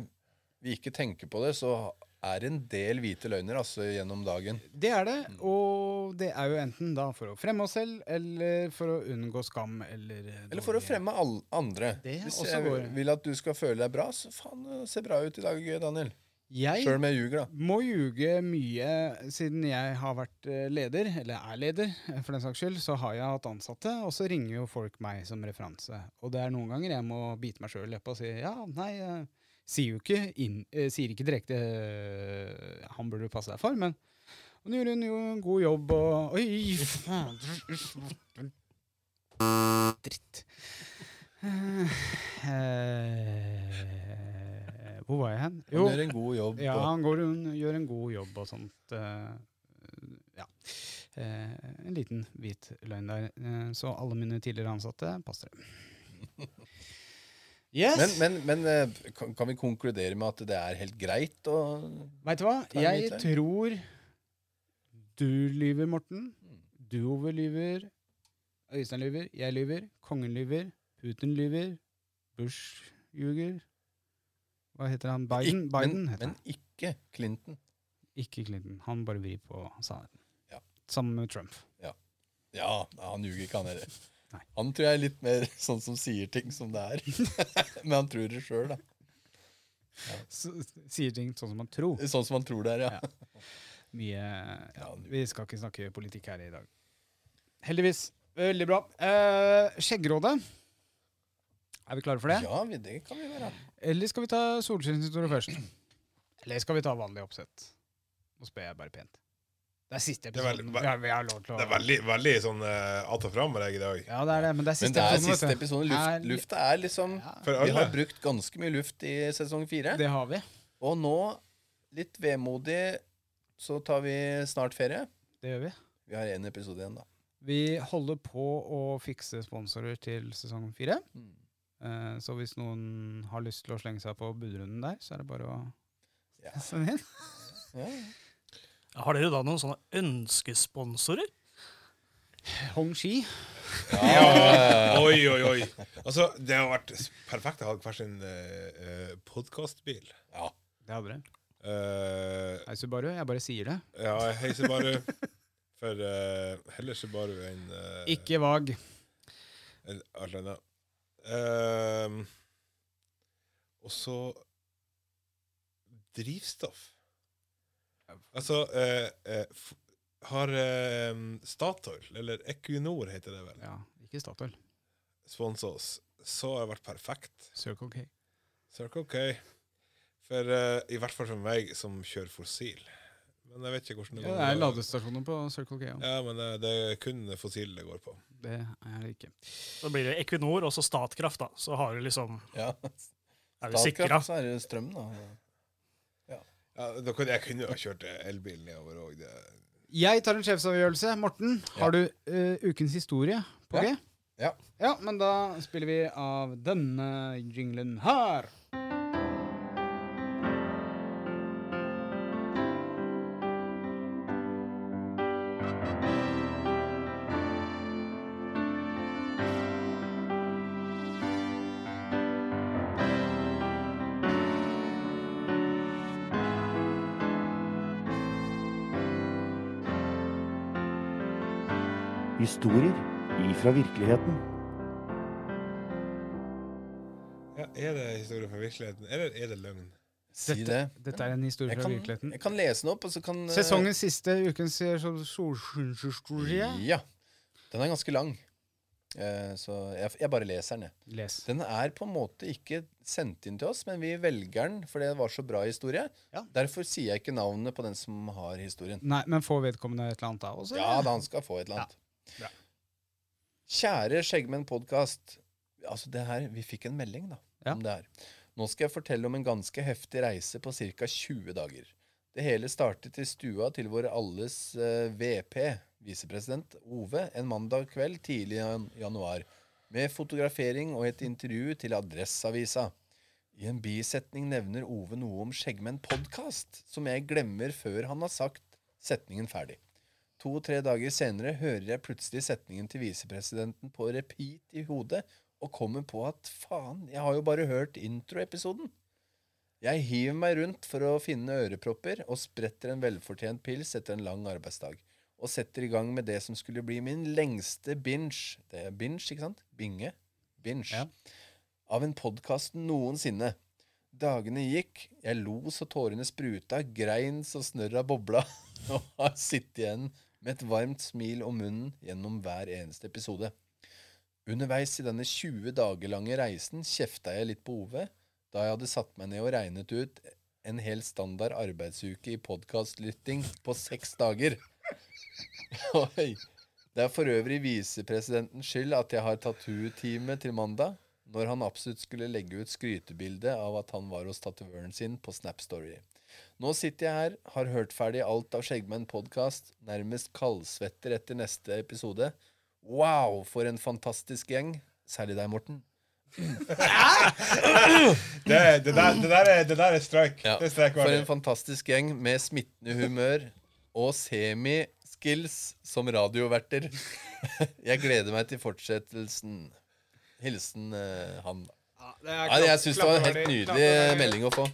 vi ikke tenker på det, så er det en del hvite løgner altså, gjennom dagen. Det er det, Mm. og det er jo enten da for å fremme oss selv, eller for å unngå skam, eller eh, Eller for å dårlig- fremme alle andre. Det Hvis også jeg går. vil at du skal føle deg bra, så faen, eh, se bra ut i dag, Daniel. Jeg Sjøl om jeg ljuger, da. må ljuge mye siden jeg har vært eh, leder, eller er leder eh, for den saks skyld, så har jeg hatt ansatte, og så ringer jo folk meg som referanse. Og det er noen ganger jeg må bite meg sjøl i leppa og si ja, nei, jeg sier jo ikke inn, eh, sier ikke direkte eh, han burde du passe deg for, men han gjorde hun jo en god jobb, og Oi, faen! Dritt. Eh, eh, hvor var jeg hen? Han gjør en god jobb. Ja, og- han går, en, gjør en god jobb og sånt. eh, ja. Eh, en liten hvit løgn der. Eh, så alle mine tidligere ansatte, pass dere. Men, Yes! men, men eh, kan, kan vi konkludere med at det er helt greit å Veit du hva? Ta en Jeg hvit løgn. tror du lyver, Morten. Mm. Du, Ove, lyver. Øystein lyver. Jeg lyver. Kongen lyver. Putin lyver. Bush ljuger. Hva heter han? Biden? Ikk- Biden men, heter han. men ikke Clinton. Ikke Clinton. Han bare vrir på sannheten. Ja. Sammen med Trump. Ja, nei, han ljuger ikke, han heller. Nei. Han tror jeg er litt mer sånn som sier ting som det er. men han tror det sjøl, da. S- sier ting sånn som man tror. Sånn som han tror det er, ja. Ja. Mye, ja, Ja, du- vi skal ikke snakke politikk her i dag. Heldigvis. Veldig bra. Eh, Skjeggrådet. Er vi klare for Ja, det? vi- det kan vi være. Eller skal vi ta solskinnshistorie først? Eller skal vi ta vanlig oppsett? Nå spør jeg bare pent. Det er siste er veldig- episoden. Vi har, vi har lov til å Det er veldig, veldig sånn uh, att og fram med deg i dag. Ja, det er det, men det er Men siste det er episoden. siste vet du. episode. Luft, Er- lufta er liksom For Vi har alle. brukt ganske mye luft i sesong fire. Det har vi. Og nå, litt vemodig, så tar vi snart ferie. Det gjør vi. Vi har én episode igjen, da. Vi holder på å fikse sponsorer til sesong fire. Mm. Eh, Så hvis noen har lyst til å slenge seg på budrunden der, så er det bare å Ja. sende inn. Ja. Har dere da noen sånne ønskesponsorer? Hongxi. Oi, oi, oi. Altså, det har vært s- perfekt å ha hver sin uh, podkastbil. Det hadde dere. Hei, Subaru. Jeg bare sier det. ja, hei, Subaru. For eh, heller Subaru enn eh, Ikke vag. enn alt annet. Ehm, og så drivstoff. Altså eh, eh, f Har eh, Statoil, eller Equinor heter det vel, Ja, ikke Statoil. sponsa oss, så har det vært perfekt. Circle K. Circle K. For eh, i hvert fall for meg som kjører fossil. Men jeg vet ikke hvordan det Ja, går. det er ladestasjoner på Circle K. Ja. Ja, men det, det er kun fossil det går på. Det er det ikke. Da blir det Equinor og så Statkraft, da. Så har du liksom ja. Er du sikra? Statkraft, så er det strøm, da. Ja, da kunne, jeg kunne jo ha kjørt elbil nedover òg. Jeg tar en sjefsavgjørelse. Morten, har du eh, ukens historie på Ja. G? Ja. ja, men da spiller vi av denne jinglen her. Historier ifra virkeligheten. Ja, er det historie fra virkeligheten, eller er det løgn? Si det. Dette er en historie Jeg fra kan, virkeligheten. jeg kan lese den opp, og så kan eh, Sesongens siste ukens eh, sol- solskinnshistorie. Ja. Den er ganske lang. Eh, Så jeg, jeg bare leser den, jeg. Les. Den er på en måte ikke sendt inn til oss, men vi velger den, for det var så bra historie. Ja. Derfor sier jeg ikke navnet på den som har historien. Nei, men får vedkommende et eller annet da også? Ja, da han skal få et eller annet. Bra. Kjære Skjeggmenn podkast. Altså det her, vi fikk en melding da, Ja. om det her. Nå skal jeg fortelle om en ganske heftig reise på ca. 20 dager. Det hele startet i stua til vår alles eh, VP, visepresident Ove, en mandag kveld tidlig i jan- januar, med fotografering og et intervju til Adresseavisa. I en bisetning nevner Ove noe om Skjeggmenn podkast, som jeg glemmer før han har sagt setningen ferdig. To-tre dager senere hører jeg plutselig setningen til visepresidenten på repeat i hodet, og kommer på at faen, jeg har jo bare hørt introepisoden. Jeg hiver meg rundt for å finne ørepropper og spretter en velfortjent pils etter en lang arbeidsdag, og setter i gang med det som skulle bli min lengste binge Det er binge, ikke sant? Binge? Binge. Ja. Av en podkast noensinne. Dagene gikk, jeg lo så tårene spruta, grein så snørra bobla, og har sittet igjen med et varmt smil om munnen gjennom hver eneste episode. Underveis i denne 20 dager lange reisen kjefta jeg litt på Ove, da jeg hadde satt meg ned og regnet ut en hel standard arbeidsuke i podkastlytting på seks dager. Oi. Det er for øvrig visepresidentens skyld at jeg har tattoo-time til mandag, når han absolutt skulle legge ut skrytebilde av at han var hos tatovøren sin på Snap Story. Nå sitter jeg her, har hørt ferdig alt av Skjeggmenn podkast, nærmest kaldsvetter etter neste episode. Wow, for en fantastisk gjeng. Særlig deg, Morten. Det, det, der, det, der, er, det der er strike. Det er strike For en verdig. fantastisk gjeng med smittende humør og semi-skills som radioverter. Jeg gleder meg til fortsettelsen. Hilsen eh, han. Nei, jeg syns det var en helt nydelig eh, melding å få.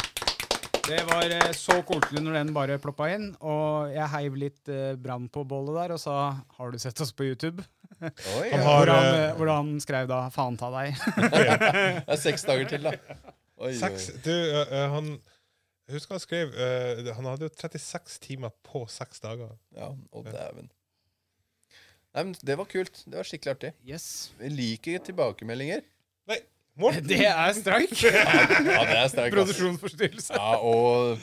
Det var eh, så koselig når den bare ploppa inn. Og jeg heiv litt eh, brann på bålet der og sa 'Har du sett oss på YouTube?' Oi, Han ja. har, Hvor han, eh, eh, hvor han skrev da 'Faen ta deg'. Det er seks dager til, da. Oi, Seks, oi. du, eh, eh, han jeg husker han skrev eh, Han hadde jo 36 timer på seks dager. Ja, å dæven. Nei, men Det var kult. Det var skikkelig artig. Yes. Jeg liker tilbakemeldinger. Nei, Morten! Det er streik! Ja, det er sterkt. ass. Produksjonsforstyrrelse. Ja, og,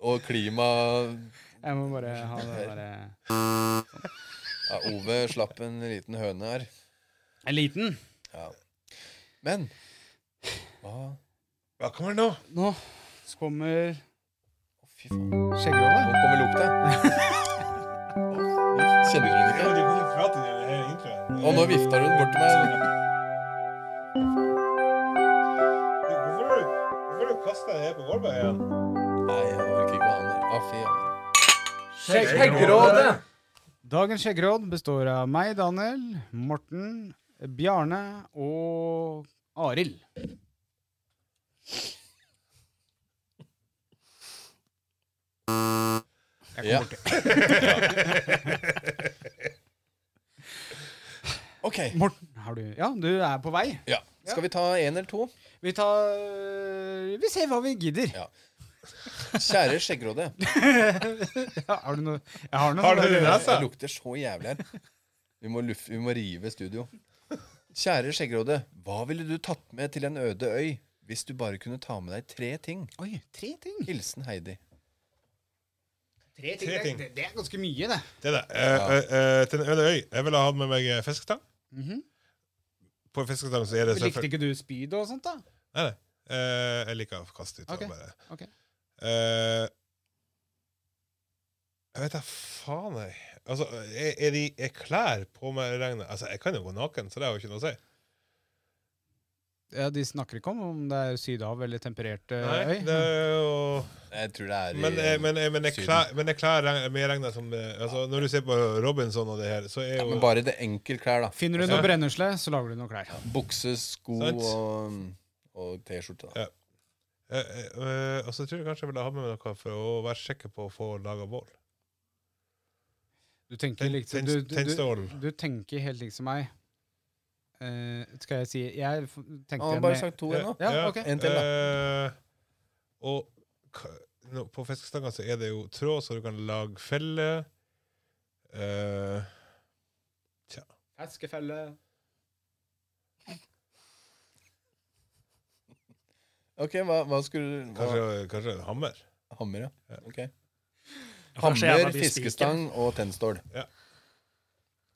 og klima Jeg må bare ha det derre ja, Ove slapp en liten høne her. En liten. Ja. Men hva? Hva kommer nå? Nå kommer Å, Fy faen. skjeggrollet. Nå kommer lukta. Kjenner du den Ja, ikke? du kan ikke prate i hele introen. Og nå vifter hun bort til meg. Hvorfor har du, hvorfor har du kastet det her på gulvet igjen? Nei, jeg orker ikke å ha den. Å, fy faen. Dagens skjeggråd består av meg, Daniel, Morten, Bjarne og Arild. Ja. OK. Morten, har du Ja, du er på vei. Ja. Skal vi ta én eller to? Vi tar Vi ser hva vi gidder. Ja. Kjære skjeggråde. Ja, har du noe Jeg har noe. Har du det i nesa? Det lukter så jævlig her. Vi må, luf- vi må rive studio. Kjære skjeggråde, hva ville du tatt med til en øde øy hvis du bare kunne ta med deg tre ting? Oi, tre ting. Hilsen Heidi. Tre Tre ting. Det, det er ganske mye, det. Det er det. Eh, eh, eh, til en øde øy. Jeg ville ha hatt med meg eh, fiskestang. På fiskestang så er det Mhm. Likte selvfølgelig ikke du speed og sånt, da? Nei, nei. Eh, jeg liker å kaste ut. og Ok, bare- ok. Eh, jeg vet da faen, jeg. Altså, er, er, de, er klær på meg i regnet? Altså, jeg kan jo gå naken, så det har jo ikke noe å si. Ja, De snakker ikke om om det er Sydhav eller tempererte Nei, øy. det er jo Jeg tror det er i Men, eh, men, eh, men, jeg Syden. klær, men jeg klær regn- med regnet som eh, altså, Når du ser på Robinson og det her, så er ja, jo men bare det enkelklær, da. Finner du Ja. noe brennesle, så lager du noe klær. Bukse, sko Sant. og, mm, og T-skjorte. da. Eh, eh, eh, Og så tror jeg kanskje jeg ville ha med meg noe for å være sikker på å få laga bål. Du tenker, Tenn- liksom, tenn- du, du, du, tennstålen. du tenker helt lik som meg. Eh, skal jeg si Jeg f- tenkte Han har en bare sånn med- sagt to ennå. Ja, ok. En til, Eh, og k- nå, på fiskestanga så er det jo tråd, så du kan lage feller. Eh, Ok, hva, hva skulle du hva, kanskje, kanskje en hammer. Hammer, ja. Ok. Kanskje jeg Hammer, var de fiskestang og tennstål.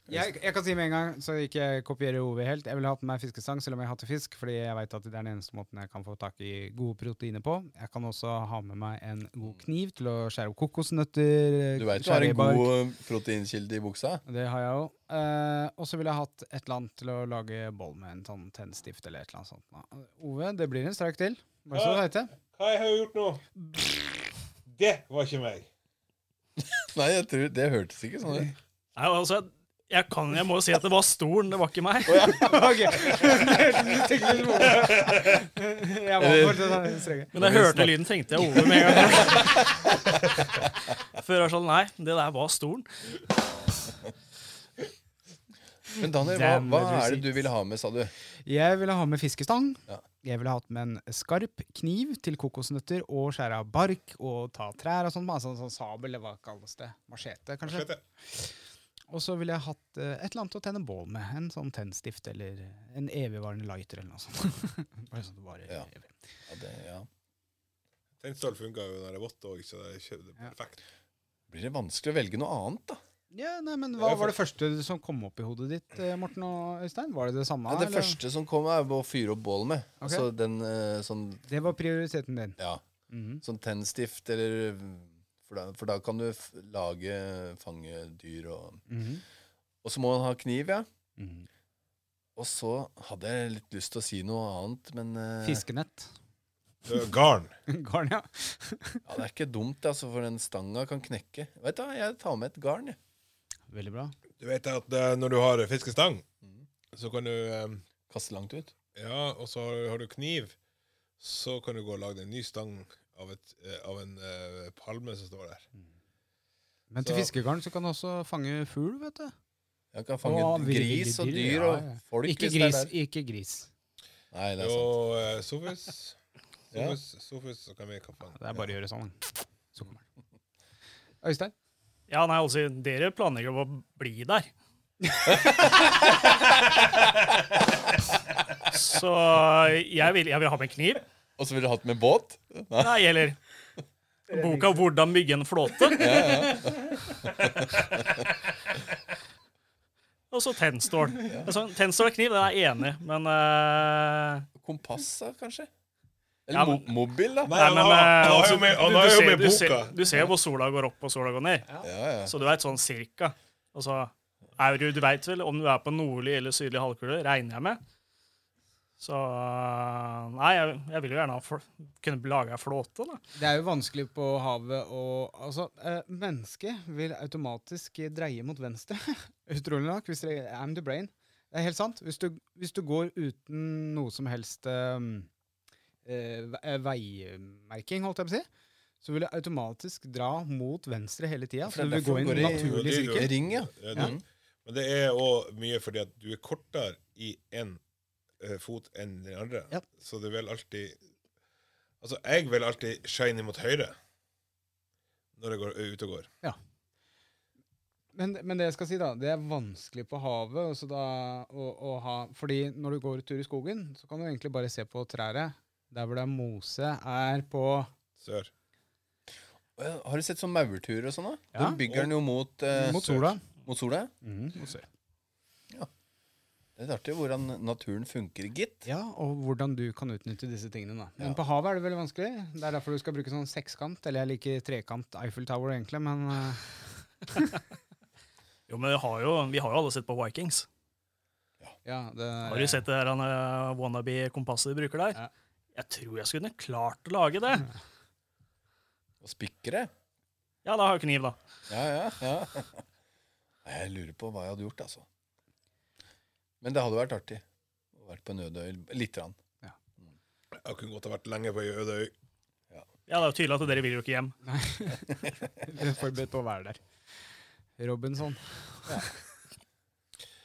Jeg, jeg kan si med en gang, så ikke jeg kopierer Ove helt. Jeg ville hatt med meg fiskestang, selv om jeg hater fisk, fordi jeg vet at det er den eneste måten jeg kan få tak i gode proteiner på. Jeg kan også ha med meg en god kniv til å skjære opp kokosnøtter. Mm. Du veit du har en cherrybark. god proteinkilde i buksa? Det har jeg òg. Eh, og så ville jeg hatt et eller annet til å lage boll med en sånn tennstift eller et eller annet sånt. da. Ove, det blir en streik til. Bare så du vet Ah. det. Hva jeg har jeg gjort nå? Det var ikke meg. Nei, jeg tror, det hørtes ikke sånn ut. Nei, altså, jeg, kan, jeg må jo si at det var stolen, det var ikke meg. Ok. Det hørtes litt vondt ut. Jeg var for den streken. Men da jeg hørte lyden, tenkte jeg over med en gang. Før jeg var sånn Nei, det der var stolen. Men Daniel, hva, Damn, hva det du er det du vil ha med, sa du? Jeg ville ha med fiskestang. Ja. Jeg ville hatt med en skarp kniv til kokosnøtter og skjære av bark og ta trær og sånt. Altså en sånn sabel, eller hva kalles det? Machete, kanskje? Machete. Og så ville jeg hatt eh, et eller annet å tenne bål med. En sånn tennstift eller en evigvarende lighter eller noe sånt. Bare sånn at det varer Ja. evig. Ja, det, ja. Tennstål funka jo når jeg vått òg, så det er ikke- det er Ja. perfekt. Blir det vanskelig å velge noe annet, da? Ja, nei, men Det Hva er var det første som kom opp i hodet ditt, eh, Morten og Øystein? Var det det samme? Nei, det eller? første som kom, er å fyre opp bål med. Ok. Altså den eh, sånn det var prioriteten din. Ja. Mhm. Sånn tennstift eller For da, for da kan du f lage fange dyr og Mhm. Og så må man ha kniv, ja. Mhm. Og så hadde jeg litt lyst til å si noe annet, men eh, Fiskenett. Øh, Garn. Garn, ja. ja, det er ikke dumt, altså, for den stanga kan knekke. Vet du hva, jeg tar med et garn, jeg. Veldig bra. Du vet at eh, når du har fiskestang, Mhm. så kan du eh, Kaste langt ut. Ja, og så har- har du kniv, så kan du gå og lage deg en ny stang av, et, eh, av en eh, palme som står der. Men til Så- fiskegarn så kan du også fange fugl, vet du. Jeg kan fange Å, ville gris og dyr, ja, dyr ja. og folk Ikke hvis det er gris. der. Ikke gris. Nei, det er sant. Og eh, sofis. Ja. Sofis, sofis, så kan vi kappe den. Det er bare å gjøre sånn. Så kommer den. Øystein? Ja, nei, altså, dere planlegger jo å bli der. Så jeg vil, jeg vil ha med en kniv. Og så ville du hatt med båt? Nei. Nei, eller boka 'Hvordan bygge en flåte'. Og så tennstål. Altså, tennstål og kniv, det er jeg enig i, men eh, Kompass, da, kanskje? Eller Ja, men- mo mobil, da? Nei, Nei, han men har- han eh, har altså, jo med- han du- har du jo ser- med du ser- boka. Du ser jo hvor sola går opp og sola går ned, Ja, ja. så du veit sånn cirka. Altså, er du, du veit vel om du er på nordlig eller sydlig halvkule, regner jeg med. Så Nei, jeg, jeg vil jo gjerne ha fl kunne lage ei flåte, da. Det er jo vanskelig på havet å Altså, eh, mennesket vil automatisk dreie mot venstre. Utrolig nok. Hvis dere I'm the brain. Det er helt sant. Hvis du, hvis du går uten noe som helst eh, eh, ve- eh, veimerking, holdt jeg på å si, så vil det automatisk dra mot venstre hele tida. For Så det er du vil gå derfor i det en går i- naturlig Det er jo- sirkel. Ring, ja. Ja, det- Men det er òg mye fordi at du er kortere i én fot enn den andre. Ja. Så du vil alltid Altså, jeg vil alltid shine mot høyre når jeg går ute og går. Men, men det jeg skal si da, det er vanskelig på havet også da, å, å ha Fordi når du går tur i skogen, så kan du egentlig bare se på trærne. Der hvor det er mose, er på Sør. Og jeg- Har du sett sånn maurturer og sånn, da? Ja. De bygger den jo mot, eh, mot sola. mot sola. ja. Mhm, mot sør. Det er litt artig hvordan naturen funker, gitt. Ja, og hvordan du kan utnytte disse tingene. da. Men på havet er det veldig vanskelig. Det er derfor du skal bruke sånn sekskant, eller jeg liker trekant Eiffel Tower egentlig, men eh, Jo, men vi har jo, vi har jo alle sett på Vikings. ja, det Har du sett det her han, eh, wannabe-kompasset de bruker der? Ja. Jeg tror jeg skulle klart å lage det. Og spikre. Ja, da har jeg kniv, da. Ja, ja, ja. Nei, Jeg lurer på hva jeg hadde gjort, altså. Men det hadde vært artig. Å Vært på en øde øy lite grann. Jeg kunne godt ha vært lenge på ei øde øy. Ja, Det er jo tydelig at dere vil jo ikke hjem. Du er forberedt på å være der. Robinson.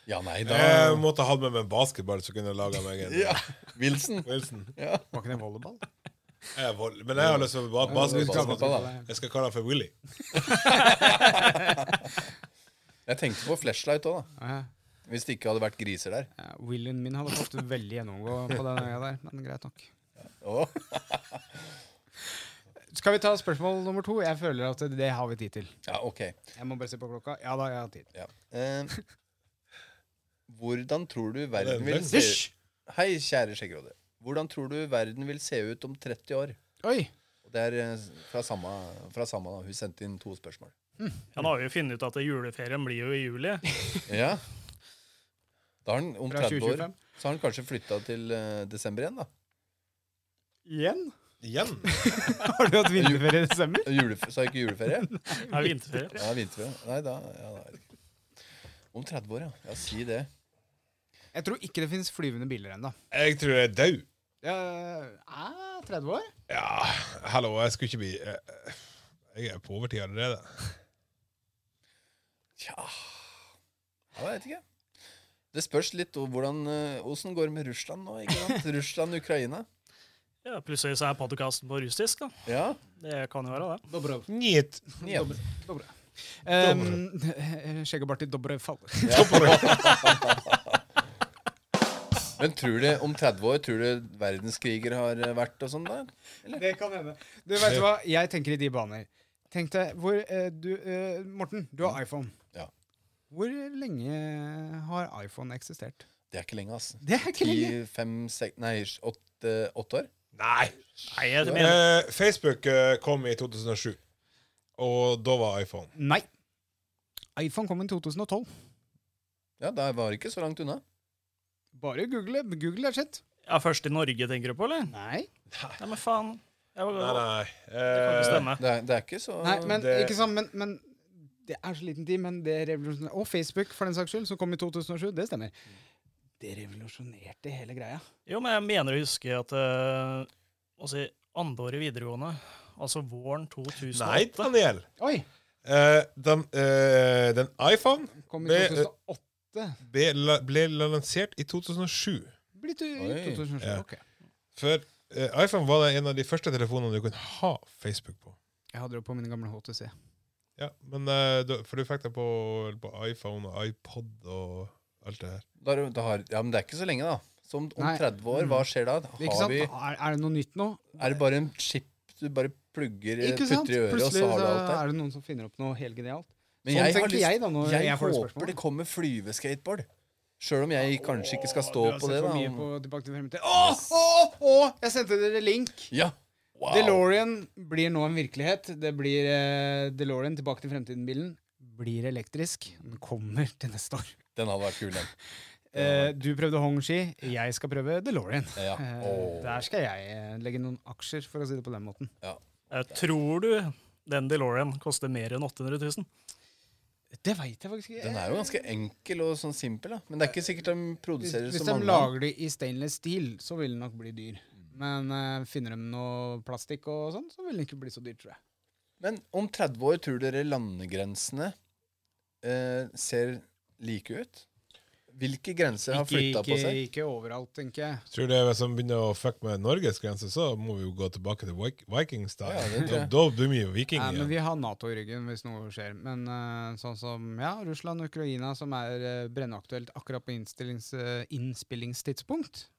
Ja, nei, da Jeg måtte ha hatt med meg en basketball, så kunne jeg laga meg en eh, Ja, Wilson. Wilson. Var ikke det volleyball? Jeg er vold- Men jeg har lyst til å ha basketball. Basketball, Jeg skal kalle han for Willy. Jeg tenkte på flashlight òg, da. Ja. Hvis det ikke hadde vært griser der. Ja, Willien min hadde fått veldig gjennomgå på den øya der, men greit nok. Å, Skal vi ta spørsmål nummer to? Jeg føler at det har vi tid til. ja, ok. Jeg må bare se på klokka. Ja da, jeg har tid. Ja. Eh, hvordan tror du verden Det er vil en se Hei, kjære skjeggråde. Hvordan tror du verden vil se ut om 30 år? Oi! Og det er eh, fra samme, fra samme da. Hun sendte inn to spørsmål. Ja, Nå har vi jo funnet ut at juleferien blir jo i juli. Ja. Da har han om Fra 30 år 2025. Så har han kanskje flytta til eh, desember igjen, da. Igjen? Igjen? Har du hatt vinterferie i desember? Julef så har jeg ikke juleferie? Det er vinterferie. Ja, vinterferie. Nei, da, ja, da. er det ikke. Om 30 år, ja. Ja, si det. Jeg tror ikke det fins flyvende biler ennå. Jeg tror jeg er død. Eh, 30 år? Ja, hallo, jeg skulle ikke bli eh, Jeg er på overtid allerede. Tja Jeg vet ikke. Det spørs litt om hvordan eh, åssen går det med Russland nå? ikke sant? Russland, Ukraina. Ja, Plutselig så er podkasten på russisk. da. Ja. Det kan jo være det. Dobrov. Njet. Ja. Dobrov. Um, Skjegg og bart i Dobrov faller. Men tror du om 30 år tror du verdenskriger har eh, vært og sånn da? Det kan hende. Du vet du hva, jeg tenker i de baner. Tenk deg hvor eh, du eh, Morten, du har iPhone. Ja. Hvor lenge har iPhone eksistert? Det er ikke lenge, altså. Det er ikke I lenge. fem, seks, nei, åtte, åtte år? Nei. Nei, jeg mener, Eh, Facebook eh, kom i 2007, og da var iPhone. Nei. iPhone kom i 2012. Ja, da var det ikke så langt unna. Bare google. Google er sett. ja, Først i Norge, tenker du på, eller? Nei. Ja, men faen. Jeg var, Nei, nei. Det kan ikke Eh, stemme. Det er, det er ikke så Nei, men det- ikke sant, men, men det er så liten tid, men det revolusjonerte Og Facebook, for den saks skyld, som kom i 2007. Det stemmer. Det revolusjonerte hele greia. Jo, men jeg mener å huske at eh, altså, i andreåret videregående, altså våren 2008 nei, Daniel. Oi! Eh, den, eh, den iPhone Kom i ble, eh, 2008. ble, la- ble lansert i 2007. Blitt i Oi. 2007. Ja. Ok. For eh, iPhone var det en av de første telefonene du kunne ha Facebook på. Jeg hadde det på min gamle HTC. Ja, men eh, da- For du fikk det på, på iPhone og iPod og alt det her. Da, er det- da har, ja, men det er ikke så lenge, da. Så om, om Nei. Mm. 30 år, hva skjer da? Ikke Har sant? vi, Er, er det noe nytt nå? er det bare en chip du bare plugger eh, Ikke sant? putter i øret, og Plutselig så har du alt så der? er det noen som finner opp noe helt genialt. Men sånn jeg har tenker lyst- jeg da når jeg, jeg får det håper spørsmålet. det kommer flyveskateboard. Sjøl om jeg kanskje ikke skal Å, stå du har på sett det, for da. mye om- på Tilbake til fremtiden. Åh, åh, åh! Jeg sendte dere link. Ja. Wow. DeLorean blir nå en virkelighet. Det blir eh, DeLorean tilbake til fremtiden-bilen blir elektrisk. Den kommer til neste år. Den hadde vært kul, den. Eh, du prøvde Hongshi, jeg skal prøve DeLorean. Ja. Eh, Åh. Der skal jeg eh, legge noen aksjer, for å si det på den måten. Eh, tror du den DeLorean koster mer enn 800 000? Det veit jeg faktisk ikke. Den er jo ganske enkel og sånn simpel, da. Men det er ikke sikkert de Hvis, produserer hvis så de mange. av den. lager det i stainless steel, så vil den nok bli dyr. Men eh, finner de noe plastikk og sånn, så vil den ikke bli så dyr, tror jeg. Men om 30 år, tror dere landegrensene eh, ser like ut? Hvilke grenser har Ikke, flytta på ikke, seg? ikke overalt, tenker jeg. Tror du det er hvis de begynner å fucke med Norges grense, så må vi jo gå tilbake til Vik- Viking-style. Ja, det tror da, jeg. da blir vi jo viking Nei, men igjen. vi har Nato i ryggen hvis noe skjer. Men eh, sånn som ja, Russland og Ukraina, som er eh, brennaktuelt akkurat på innstillings, eh, innspillingstidspunkt,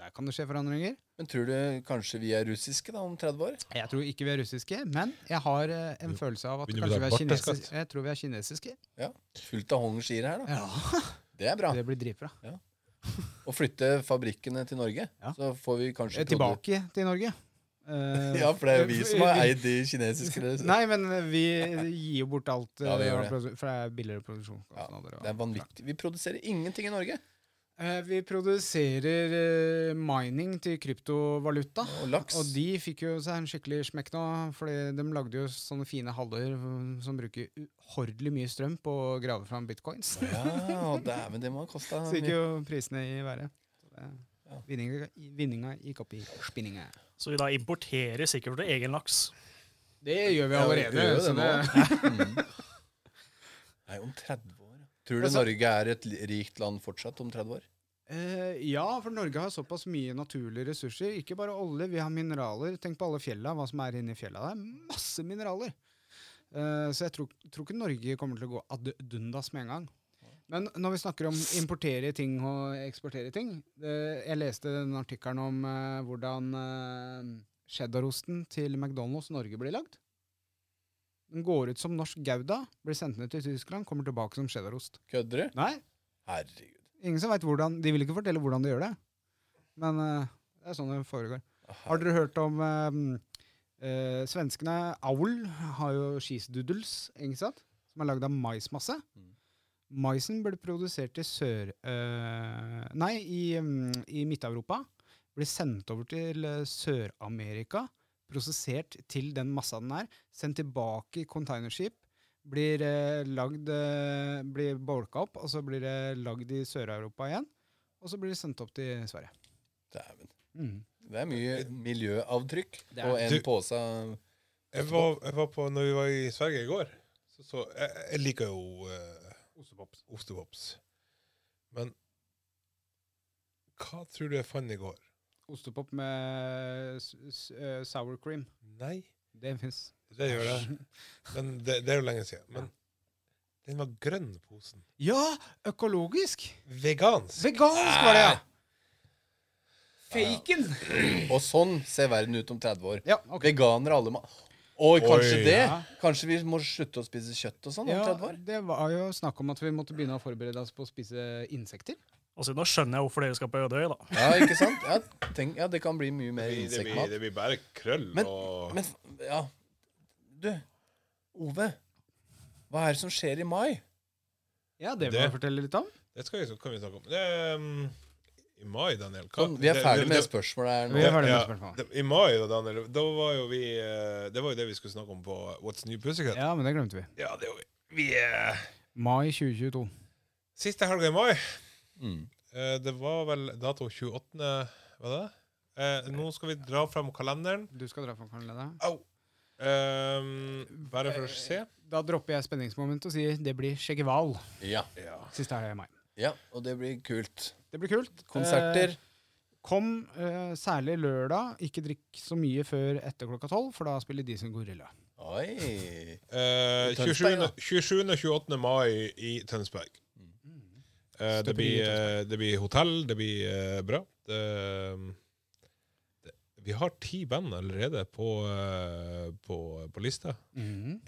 der kan det skje forandringer. Men tror du kanskje vi er russiske da om 30 år? Jeg tror ikke vi er russiske, men jeg har eh, en følelse av at begynner kanskje vi vi da er barteskatt? kinesiske. Jeg tror vi er kinesiske. Fullt av hongerskier her, da. Ja, Det er bra. Det blir dritbra. Å flytte fabrikkene til Norge, Ja. så får vi kanskje Eh, Tilbake til Norge. Eh, Ja, for det er jo vi som har vi- eid de kinesiske Nei, men vi gir jo bort alt, Ja, vi eh, gjør det. produ- for det er billigere Ja, produksjonskostnader. og- Det er vanvittig. Vi produserer ingenting i Norge. Eh, Vi produserer eh, mining til kryptovaluta. Og laks. Og de fikk jo seg en skikkelig smekk nå, fordi de lagde jo sånne fine haller eh, som bruker uhordelig mye strøm på å grave fram bitcoins. Ja, dæven, det må ha kosta Så gikk jo prisene i været. Så det- Vinninga, vinninga gikk opp i spinninga. Så vi da importerer sikkert vår egen laks. Det gjør vi Ja, vi allerede. gjør jo så det det, Nei, om 30 år. ja. Tror du Altså- Norge er et li- rikt land fortsatt om 30 år? Eh, ja, for Norge har såpass mye naturlige ressurser. Ikke bare olje, vi har mineraler. Tenk på alle fjella, hva som er inni fjella. Det er masse mineraler. Eh, så jeg tror, tror ikke Norge kommer til å gå ad dundas med en gang. Men når vi snakker om importere ting og eksportere ting eh, Jeg leste den artikkelen om eh, hvordan eh, cheddarosten til McDonald's Norge blir lagd. Den går ut som norsk Gouda, blir sendt ned til Tyskland, kommer tilbake som cheddarost. Kødder du? Nei, Herregud. Ingen som vet hvordan, De vil ikke fortelle hvordan de gjør det. Men eh, det er sånn det foregår. Har dere hørt om eh, eh, Svenskene Aul har jo cheesedoodles, ikke sant? som er lagd av maismasse. Maisen ble produsert i sør... eh, nei, i, mm, i Midt-Europa. Ble sendt over til eh, Sør-Amerika. Prosessert til den massa den er. Sendt tilbake i containerskip. Blir eh, lagd eh, Blir bolka opp, og så blir det lagd i Sør-Europa igjen. Og så blir det sendt opp til Sverige. Dæven. Mm. Det er mye miljøavtrykk Det er- og en Du- pose Jeg var, jeg var på, når vi var i Sverige i går, så, så jeg, jeg liker jo eh, ostepops. Men Hva tror du jeg fant i går? Ostepop med s s eh, sour cream. Nei, Det fins. det gjør det. Men det, det er jo lenge siden. Men den var grønn, posen. Ja! Økologisk! Vegansk. Vegansk var det, ja! Faken! Og sånn ser verden ut om 30 år. Ja, ok. Veganere alle må Og kanskje Oi. det? Ja. Kanskje vi må slutte å spise kjøtt og sånn om Ja, 30 år? det var jo snakk om at vi måtte begynne å forberede oss på å spise insekter. Altså, nå skjønner jeg hvorfor dere skal på Ødøy, da. Ja, ikke sant? Ja, tenk, ja det kan bli mye mer Det blir, insektmat. det blir bare krøll Men- og Men ja Du, Ove. Hva er det som skjer i mai? Ja, det vil Det- jeg fortelle litt om. Det skal vi, så kan vi snakke om. Det, er, um, I mai, Daniel hva- Sånn, vi er det- ferdig det- med det- spørsmålet her Vi nå. er ferdig med Ja, spørsmålet. det- I mai, da, Daniel, da var jo vi eh, Det var jo det vi skulle snakke om på What's New Pussycat. Ja, men det glemte vi. Ja, det er jo vi eh, Mai 2022. Siste helga i mai. Mm. eh, Det var vel dato 28. Var det? Eh, Nå skal vi dra fram kalenderen. Du skal dra fra kalenderen. Au! Ehm, bare for å se. Da dropper jeg spenningsmomentet og sier det blir skjeggeval Ja, siste helga i mai. ja, og det blir kult. Det blir kult. Konserter. Eh, kom eh, særlig lørdag. Ikke drikk så mye før etter klokka tolv, for da spiller de som gorilla. Oi. Eh, I Tønsberg, 27. da. 27. og 28. mai i Tønsberg. Eh, Støperi Mm. i det, blir, eh, det blir hotell, det blir eh, bra. Det, ehm, det, vi har ti band allerede på, eh, på, på lista.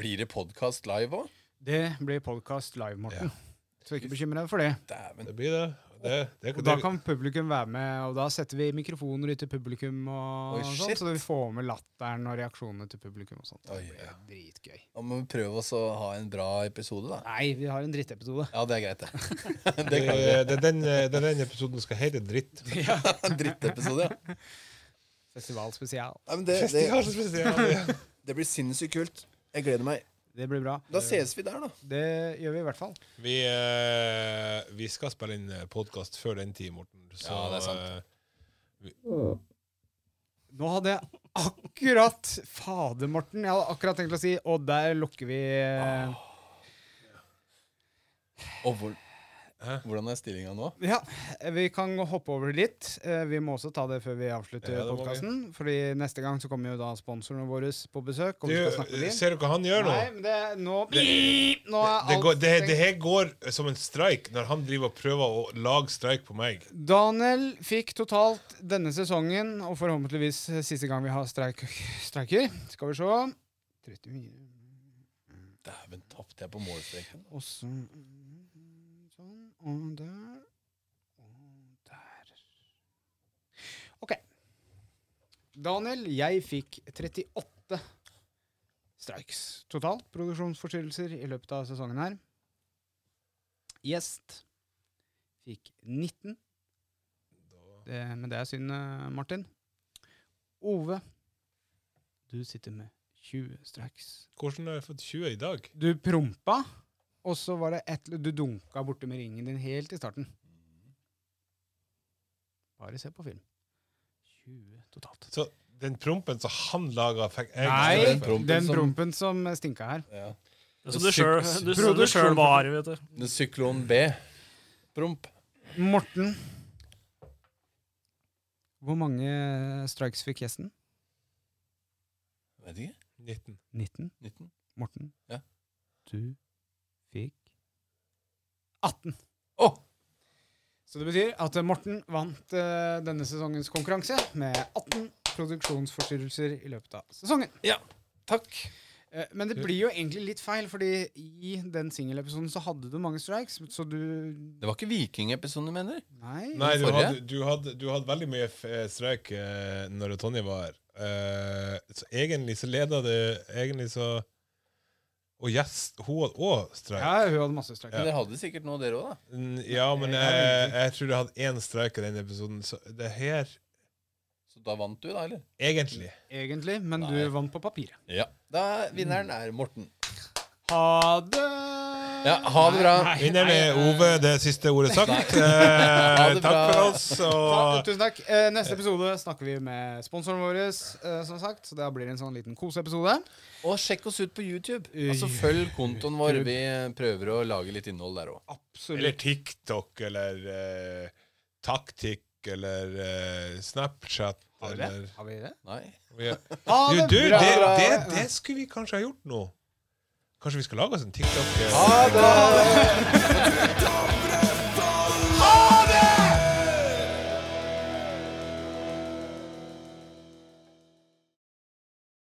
Blir det podkast live òg? Det blir podkast live, Morten. Så ikke bekymre deg for det. Dæven. Det blir det. det, det, Og det, da kan publikum være med, og da setter vi mikrofoner ut til publikum, og Oi, sånn, shit. så vi får med latteren og reaksjonene til publikum. og sånt. Oi, Det blir dritgøy. Da må vi prøve oss å ha en bra episode, da. Nei, vi har en drittepisode. Ja, det er greit, det. det det, kan vi. det er den, eh, det er den episoden skal hete Dritt. En drittepisode, ja. Festival spesial. Nei, men det, det, Festivalspesial. det blir sinnssykt kult. Jeg gleder meg. Det blir bra. Da ses vi der, da. Det gjør vi i hvert fall. Vi, eh, vi skal spille inn podkast før den tid, Morten. Så, Ja, det er sant. eh, Nå hadde jeg akkurat Fader, Morten. Jeg hadde akkurat tenkt å si Og der lukker vi Ah. eh, Og hvor, hvordan er stillinga nå? Ja, vi kan gå- hoppe over litt. Eh, Vi må også ta det før vi avslutter Ja, det må vi. podkasten. Fordi neste gang så kommer jo da sponsorene våre på besøk. Og vi skal snakke du, med dem. ser du hva han gjør nå? Nei, men det nå, nå er Det, alt går, det, det stengt. her går som en streik når han driver og prøver å lage streik på meg. Daniel fikk totalt denne sesongen, og forhåpentligvis siste gang vi har streik, streiker Skal vi se 34 Dæven, tapte jeg på målstreken? Og så Sånn, og der Og der. OK. Daniel, jeg fikk 38 streiks totalt. Produksjonsforstyrrelser i løpet av sesongen her. Gjest fikk 19. Det, men det er synd, eh, Martin. Ove, du sitter med 20 streiks. Hvordan har jeg fått 20 i dag? Du prompa, og så var det et Du dunka borte med ringen din helt i starten. Bare se på film. 20 totalt. Så den prompen som han laga, fikk jeg Nei, den prompen den som- prompen som stinka her. Ja. Det som du sjøl Sykt. du, du selv var, vet du. Men Syklon B. Promp. Morten. Hvor mange strikes fikk gjesten? Vet ikke. 19. 19. 19. Morten. Ja. Du fikk 18. Å! Så det betyr at eh, Morten vant eh, denne sesongens konkurranse med 18 produksjonsforstyrrelser i løpet av sesongen. Ja. Takk. Eh, Men det blir jo egentlig litt feil, fordi i den singelepisoden så hadde du mange strikes, så du Det var ikke vikingepisoden du mener? Nei. Nei, du Forrige? hadde, du, hadde, du hadde veldig mye f- eh, streik eh, når Tonje var her. Eh, så egentlig så leda det Egentlig så Og gjest, hun hadde òg streik. Ja, hun hadde masse strikes. Men dere hadde sikkert noe, dere òg, da. Mm, Ja, men jeg, jeg tror jeg hadde én streik i den episoden. Så det her Så da vant du, da, eller? Egentlig. Egentlig, men Nei. du vant på papiret. Ja. Da vinneren er Morten. Ha det! Ja, ha det bra. Vinneren er Ove, det siste ordet sagt. Ha Eh, det takk bra. for oss. Ta- Og Tusen takk. Eh, Neste episode snakker vi med sponsoren vår, eh, som sagt. Så da blir det en sånn liten koseepisode. Og sjekk oss ut på YouTube. Altså Følg kontoen vår. Vi prøver å lage litt innhold der òg. Eller Absolutt. TikTok, eller eh, Taktikk, eller eh, Snapchat Har vi det? eller Har vi det? Nei. Vi er- Ha Du, du det, bra! det, det skulle vi kanskje ha gjort nå. Kanskje vi skal lage oss en TikTok? eh, Ha det! Dobre